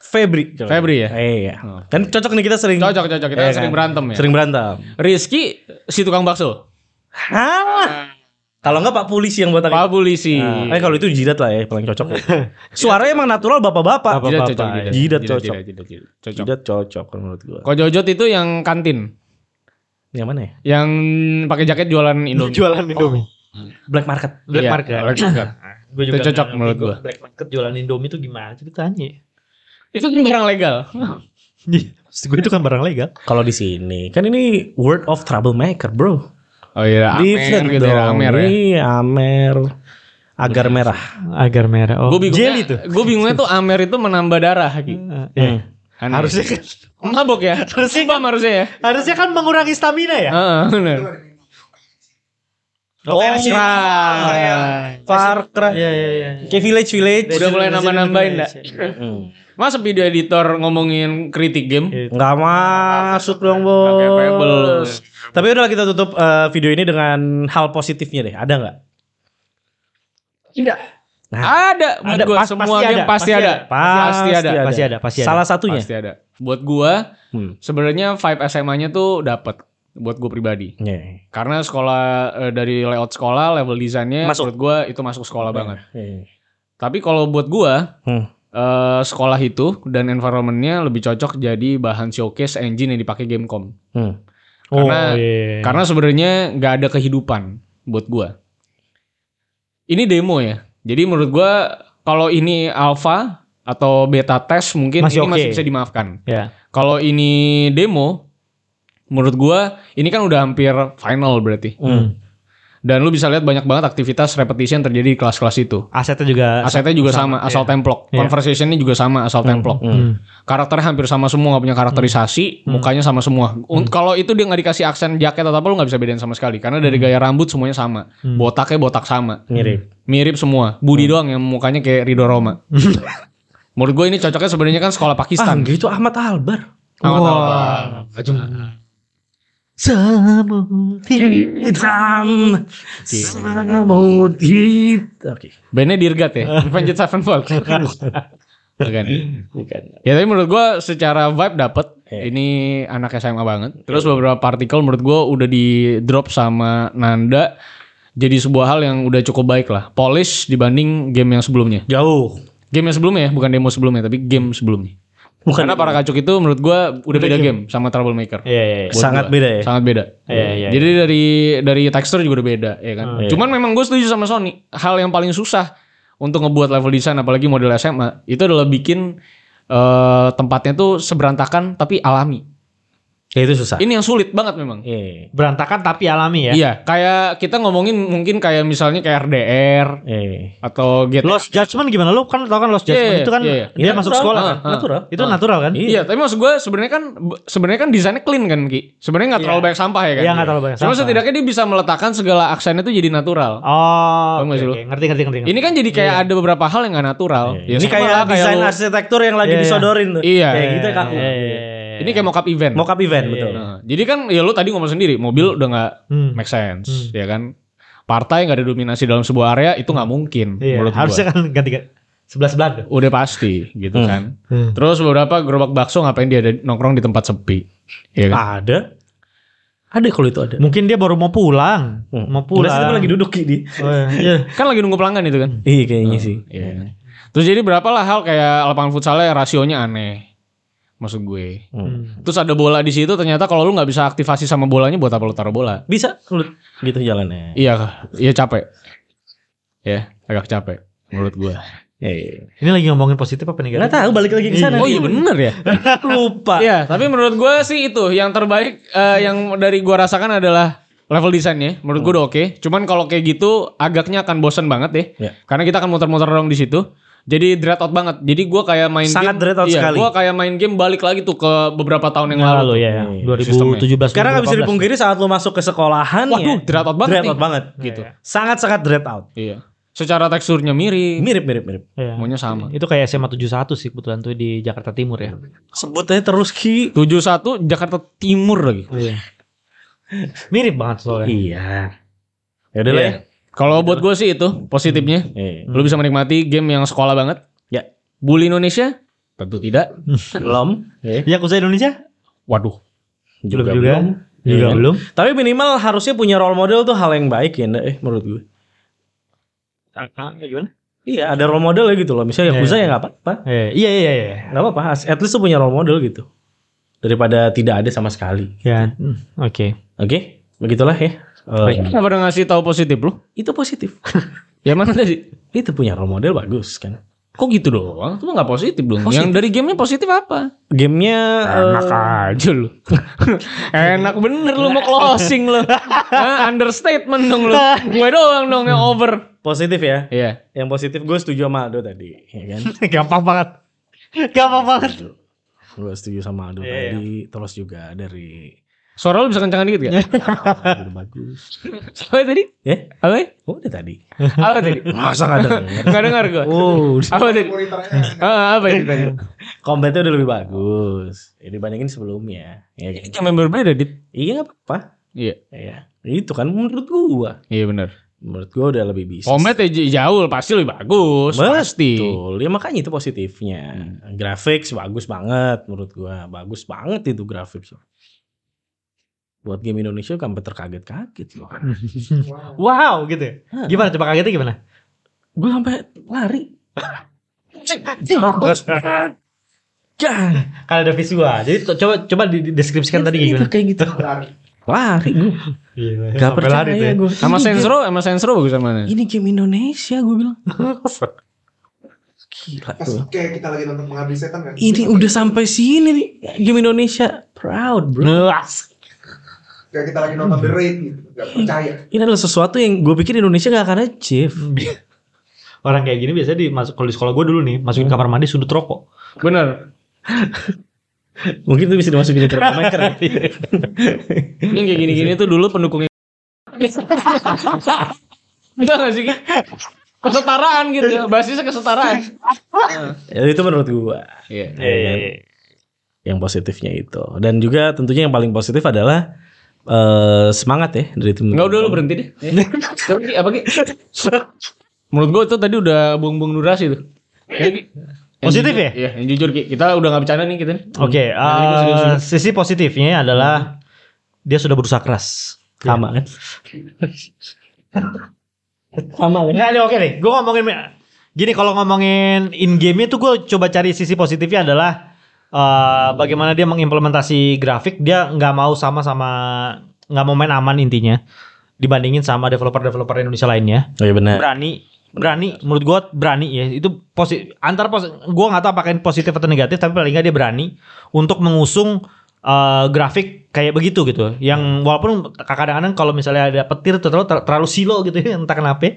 Febri. coba.
Febri ya?
Iya. Kan cocok nih kita sering
Cocok, cocok. Kita
Iya
sering
kan?
berantem ya.
sering berantem.
Rizky si tukang bakso.
Hah? Kalau enggak Pak Polisi yang buat
Pak polisi.
Nah, eh kalau itu jidat lah ya paling cocok. ya. Suaranya emang natural bapak-bapak.
Jidat cocok,
Jidat, jidat cocok.
Jidat, jidat, jidat. Cocok.
Jidat cocok kalau menurut gua.
Kok Jojot itu yang kantin,
Yang mana ya?
yang pakai jaket jualan Indomie.
jualan Indomie
Black market.
black
Iya,
market
black market.
Gua
Itu cocok
nggak ngerti
menurut
gua
gua.
black market jualan Indomie itu gimana ceritanya
itu kan barang legal.
Maksud gue itu kan barang legal
Kalau di sini kan ini word of troublemaker, bro.
Oh iya,
Different
gitu ya,
dong.
Amer ya.
Iya, amer. Agar merah.
agar merah oh
Gue bingungnya,
jelly tuh
gue bingungnya tuh Amer itu menambah darah. Ki.
Hmm.
Eh,
Aneh.
harusnya kan
mabok ya. Harusnya harusnya ya.
harusnya kan mengurangi stamina ya
Heeh, benar.
Oh,
Oh,
Far Cry.
Ah, Iya iya iya.
Kayak village village.
Udah mulai nambah-nambahin dah.
Hmm.
Masa video editor ngomongin kritik game?
Nggak masuk dong,
Pakai Pebble.
Bos. Tapi udah kita tutup eh, video ini dengan hal positifnya deh. Ada nggak?
Tidak.
Nah.
ada, menurut
Ada,
gua
pas-
semua
pasti
game
ada,
pasti
pasti
ada.
ada.
Pasti ada.
Pasti ada, pasti ada.
Salah satunya.
Pasti ada. Buat gua
Hmm.
sebenarnya vibe SMA-nya tuh dapat buat gua pribadi.
Iya.
Karena sekolah eh, dari layout sekolah, level desainnya
Masuk.
menurut gua itu masuk sekolah banget.
Iya.
Tapi kalau buat gua
Hmm.
eh, sekolah itu dan environmentnya lebih cocok jadi bahan showcase engine yang dipakai Gamecom.
Hmm.
Karena-
iya.
Karena sebenarnya nggak ada kehidupan buat gua. Ini demo ya. Jadi menurut gua kalau ini alpha atau beta test mungkin
Masih
ini
oke.
masih bisa dimaafkan.
ya.
Kalau ini demo menurut gua ini kan udah hampir final berarti.
Hmm.
Dan lu bisa lihat banyak banget aktivitas repetisi yang terjadi di kelas-kelas itu.
Asetnya juga
Asetnya juga sama,
iya.
asal templok.
Iya.
Conversationnya juga sama, asal templok.
Hmm.
Karakternya hampir sama semua, nggak punya karakterisasi, mukanya sama semua.
Hmm.
Un- Kalau itu dia nggak dikasih aksen jaket atau apa, lu nggak bisa bedain sama sekali. Karena dari gaya rambut semuanya sama,
Hmm.
botaknya botak sama,
Mirip.
mirip semua. Budi doang yang mukanya kayak Ridho Roma. Menurut gue ini cocoknya sebenarnya kan sekolah
Ah,
Pakistan.
enggak, itu Ahmad Albar.
Ahmad
Ah, Wah.
Albar.
Semut
Hitam. Semut hitam. Oke.
Bandnya Dirgat ya, Avenged Sevenfold. Bukan. Ya tapi menurut gua secara vibe dapet
Iya.
Ini anak SMA banget Terus beberapa partikel menurut gua udah di drop sama Nanda Jadi sebuah hal yang udah cukup baik lah Polish dibanding game yang sebelumnya
Jauh.
Game yang sebelumnya ya bukan demo sebelumnya Tapi game sebelumnya
Bukan
Karena para kacuk itu menurut gua udah beda game sama Troublemaker
Iya iya. iya.
Buat
Sangat
gua.
beda ya?
Sangat beda.
Iya, iya, Oh,
Jadi dari dari tekstur juga udah beda, ya kan.
Iya.
Cuman memang gue setuju sama Sony. Hal yang paling susah untuk ngebuat level design apalagi model SMA itu adalah bikin eh, tempatnya tuh seberantakan tapi alami.
Ya, itu susah.
Ini yang sulit banget memang.
Iya.
Berantakan tapi alami ya.
Iya, kayak kita ngomongin mungkin kayak misalnya kayak RDR
Iya.
atau GTA.
Lost judgment gimana lu kan tau kan lost judgment
Iya,
itu kan
iya, iya.
dia
Natural.
masuk sekolah kan.
Ah, ah.
natural. Itu natural kan?
Iya, tapi maksud gue sebenarnya kan sebenarnya kan desainnya clean kan Ki. Sebenarnya nggak terlalu banyak sampah ya kan.
Iya, nggak terlalu banyak
Cuma
sampah.
setidaknya dia bisa meletakkan segala aksennya tuh jadi natural.
Oh,
Paham
oke,
nggak sih lu?
oke. ngerti ngerti ngerti. ngerti.
Ini kan jadi kayak ada beberapa hal yang gak natural. Ya,
Ini
sama lah,
kayak desain
lu-
arsitektur yang
Iya,
lagi
iya.
disodorin tuh.
Iya.
Kayak gitu ya, kaku.
Iya, iya, iya.
Ini kayak mockup event.
Mockup event betul.
Nah, jadi kan ya lu tadi ngomong sendiri, mobil udah gak
Hmm.
make sense, ya kan? Partai gak ada dominasi dalam sebuah area itu nggak mungkin
Iya,
menurut
harusnya
gua.
kan ganti ganti sebelah sebelah tuh.
Udah pasti gitu
Hmm.
kan.
Hmm.
Terus beberapa gerobak bakso ngapain dia ada nongkrong di tempat sepi. Ya kan?
Ada. Ada kalau itu ada.
Mungkin dia baru mau
Hmm.
pulang, mau pulang.
Biasanya dia lagi duduk Ki, di.
Oh, iya.
Hmm.
Kan lagi nunggu pelanggan itu kan.
Iya kayaknya sih.
Iya. Terus jadi berapalah hal kayak lapangan futsalnya rasionya aneh. Maksud gue.
Hmm.
Hmm.
Terus ada bola di situ ternyata kalau lu nggak bisa aktivasi sama bolanya buat apa lu taruh bola?
Bisa lu
Gitu jalannya.
Iya, iya capek. Ya, agak capek menurut gue.
Eh,
Ini lagi ngomongin positif apa negatif?
nggak tahu balik lagi ke sana.
Oh iya bener ya.
Lupa.
Iya, tapi menurut gue sih itu yang terbaik eh, yang dari gue rasakan adalah level desainnya. Menurut gue udah oke. Cuman kalau kayak gitu agaknya akan bosen banget deh.
Hmm. Iya.
Karena kita akan muter-muter dong di situ. Jadi dread out banget. Jadi gue kayak main
Sangat
game.
dread out
iya,
sekali.
Gue kayak main game balik lagi tuh ke beberapa tahun yang
Yang
lalu.
lalu ya,
Hmm,
2017.
Sekarang nggak bisa
2018.
dipungkiri saat lu masuk ke sekolahan
ya. Waduh,
ya.
dread out banget.
Dread
nih.
out banget.
Iya,
Gitu.
Sangat-sangat dread out.
Iya. Secara teksturnya mirip,
Mirip-mirip mirip.
Iya.
maunya sama.
Itu kayak SMA 71 sih kebetulan tuh di Jakarta Timur ya.
Sebutnya terus Ki.
71 Jakarta Timur lagi.
Iya. Mirip banget soalnya.
Iya. Ya udah lah
Iya. Kalau buat gue sih itu positifnya.
ya. Eh,
Lu bisa menikmati game yang sekolah banget.
Ya.
Bully Indonesia? Tentu tidak.
Belum. Eh,
Ya khususnya Indonesia?
Waduh.
Belum juga. Juga
Iya.
belum.
Tapi minimal harusnya punya role model tuh hal yang baik ya, Nda, eh, menurut gue.
gimana?
Iya, ada role model gitu loh. Misalnya
Iya,
Yakuza
iya.
ya nggak apa-apa.
Eh, iya iya iya.
Nggak apa-apa. as- At least tuh punya role model gitu. Daripada tidak ada sama sekali.
Ya, hmm, oke.
Oke, begitulah ya. Eh,
Kenapa udah ngasih tahu positif lu?
itu positif.
Ya mana tadi?
itu punya role model bagus kan.
Kok gitu doang? Itu mah nggak positif dong.
Positif.
Yang dari gamenya positif apa?
Gamenya
Enak
eh,
aja lu. Enak bener lu mau closing lu. Hah, understatement dong lu. Gue doang dong yang over.
positif ya.
Iya.
Yang positif gue setuju sama Aldo tadi, ya kan?
Gampang banget. Gampang banget.
gue setuju sama Aldo
Iya,
tadi. Terus juga dari
Suara lu bisa kencangan dikit gak?
Aldo bagus.
Apa tadi?
Ya,
Apa? ya?
udah tadi.
Apa tadi?
Masa nggak dengar?
Gak dengar gue.
Oh,
Apa
Iya.
tadi?
Monitornya
Ah, apa itu tadi?
combatnya udah lebih bagus. Ya, dibandingin sebelumnya, ya kan?
Yang berbeda dit.
Iya nggak apa-apa.
Iya.
Ya, itu kan menurut gua.
Iya benar.
Menurut gua udah lebih bisa.
Komet ya j- jauh pasti lebih bagus. Pasti.
Betul. Ya makanya itu positifnya. Grafik bagus banget menurut gua. Bagus banget itu grafik. Buat game Indonesia kan terkaget-kaget loh.
Wow.
Wow, gitu ya. Gimana coba kagetnya gimana?
Gua sampai lari. Gah,
Karena Kan ada visual. Jadi to- coba coba dideskripsikan Kan tadi kayak gimana.
kayak gitu. Lari gua.
Iya.
Gak percaya gua.
Sama
Ini game-
Sensro, sama Sensro bagus sama mana?
Ini game Indonesia gua bilang. Gila
Pas
gua.
kayak kita lagi nonton pengabdi setan kan.
Ini udah sampai sini nih game Indonesia. Proud, bro.
Kayak kita lagi nonton The Raid gitu. Gak percaya.
Ini adalah sesuatu yang gue pikir Indonesia gak akan achieve.
Orang kayak gini biasanya dimasuk kalau di sekolah gue dulu nih, masukin kamar mandi sudut rokok.
Bener.
Mungkin itu bisa dimasukin ke Troublemaker.
Iya.
ya.
Ini kayak gini-gini tuh dulu pendukungnya. Enggak gak sih? Ki? Kesetaraan gitu ya. Basisnya kesetaraan.
Ya, itu menurut gue.
Iya.
Yang positifnya itu. Dan juga tentunya yang paling positif adalah eh, semangat ya dari tim.
Enggak udah lu berhenti deh. Ya. Tapi Ki, apa Ki? Menurut gua itu tadi udah buang-buang durasi tuh. Ya, Ki? Yang
Positif
jujur-
ya?
Iya, yang jujur Ki. Kita udah gak bercanda nih kita nih.
Oke, eh,
Nah,
Yang ini serius-serius.
sisi positifnya adalah dia sudah berusaha keras.
sama kan? sama kan?
Enggak, ini oke deh. Gue ngomongin gini kalau ngomongin in game-nya tuh gue coba cari sisi positifnya adalah eh, bagaimana dia mengimplementasi grafik. Dia nggak mau sama sama nggak mau main aman intinya dibandingin sama developer-developer Indonesia lainnya.
Oh iya benar.
berani berani menurut gua berani ya itu positif antar pos gua nggak tahu apakah ini positif atau negatif tapi paling nggak dia berani untuk mengusung eh, grafik kayak begitu gitu yang walaupun kadang-kadang kalau misalnya ada petir terlalu terlalu silo gitu ya entah kenapa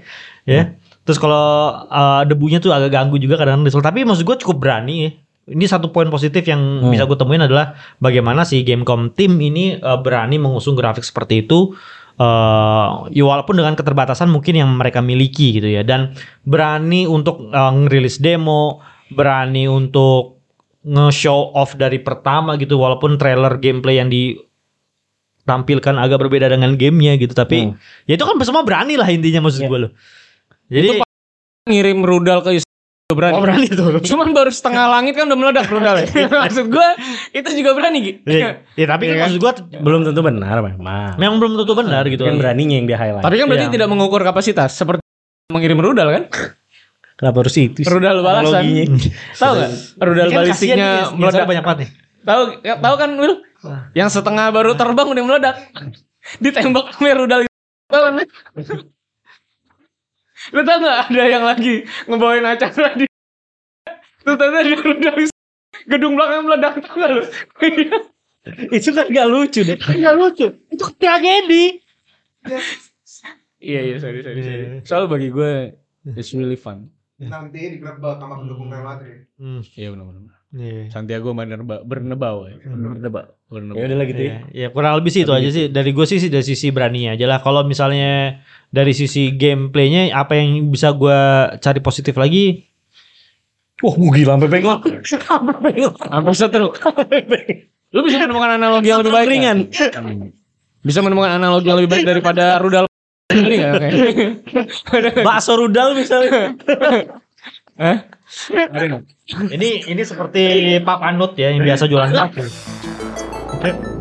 ya terus kalau eh, debunya tuh agak ganggu juga kadang-kadang disel tapi maksud gua cukup berani ya ini satu poin positif yang bisa gue temuin adalah bagaimana si Gamecom tim ini eh, berani mengusung grafik seperti itu eh ya walaupun dengan keterbatasan mungkin yang mereka miliki gitu ya dan berani untuk eh, ngerilis demo, berani untuk nge-show off dari pertama gitu walaupun trailer gameplay yang ditampilkan agak berbeda dengan gamenya gitu tapi ya itu kan semua berani lah intinya maksud gue loh. Jadi
Ngirim rudal ke Israel berani.
Oh, berani tuh.
Cuman baru setengah langit kan udah meledak rudal ya. Maksud gue itu juga berani Ki.
ya, ya, tapi kan maksud gue
Belum tentu benar memang.
memang belum tentu benar gitu kan.
Kan beraninya yang di highlight.
Tapi kan berarti
Iya.
tidak mengukur kapasitas seperti mengirim rudal kan?
Kenapa harus itu sih?
Rudal balasan.
Iya.
Analoginya.
Tahu enggak? Rudal Kan
kan
balistiknya
ya,
meledak.
banyak banget nih.
Tahu ya, tahu kan Will? Yang setengah baru terbang udah meledak. Ditembak sama rudal itu. Tahu kan? Lu tahu enggak ada yang lagi ngebawain acara di Tuh tadi ada rudal is- gedung belakang meledak tahu enggak lu?
Itu kan gak lucu deh.
Enggak lucu. Itu tragedi.
Iya iya sorry sorry sorry. Soalnya bagi gue it's really fun.
Nanti digrebek sama pendukung Real Madrid.
Hmm.
Iya benar-benar.
Iya.
Santiago Bernabeu Bernabeu ya. Bernabeu.
Ya udah lah gitu ya.
Ya, kurang lebih sih itu aja sih. Dari gue sih sih dari sisi beraninya aja lah. Kalau misalnya dari sisi gameplaynya apa yang bisa gue cari positif lagi?
Wah, gue gila sampai bengong. Sampai bengong.
Apa seteru? Lu bisa menemukan analogi yang lebih baik
Ringan.
nggak? Bisa menemukan analogi yang lebih baik daripada rudal ini nggak? Oke.
Bakso rudal misalnya.
Hah? Ada nggak?
ini ini seperti Pak Panut ya yang biasa jualan kaki.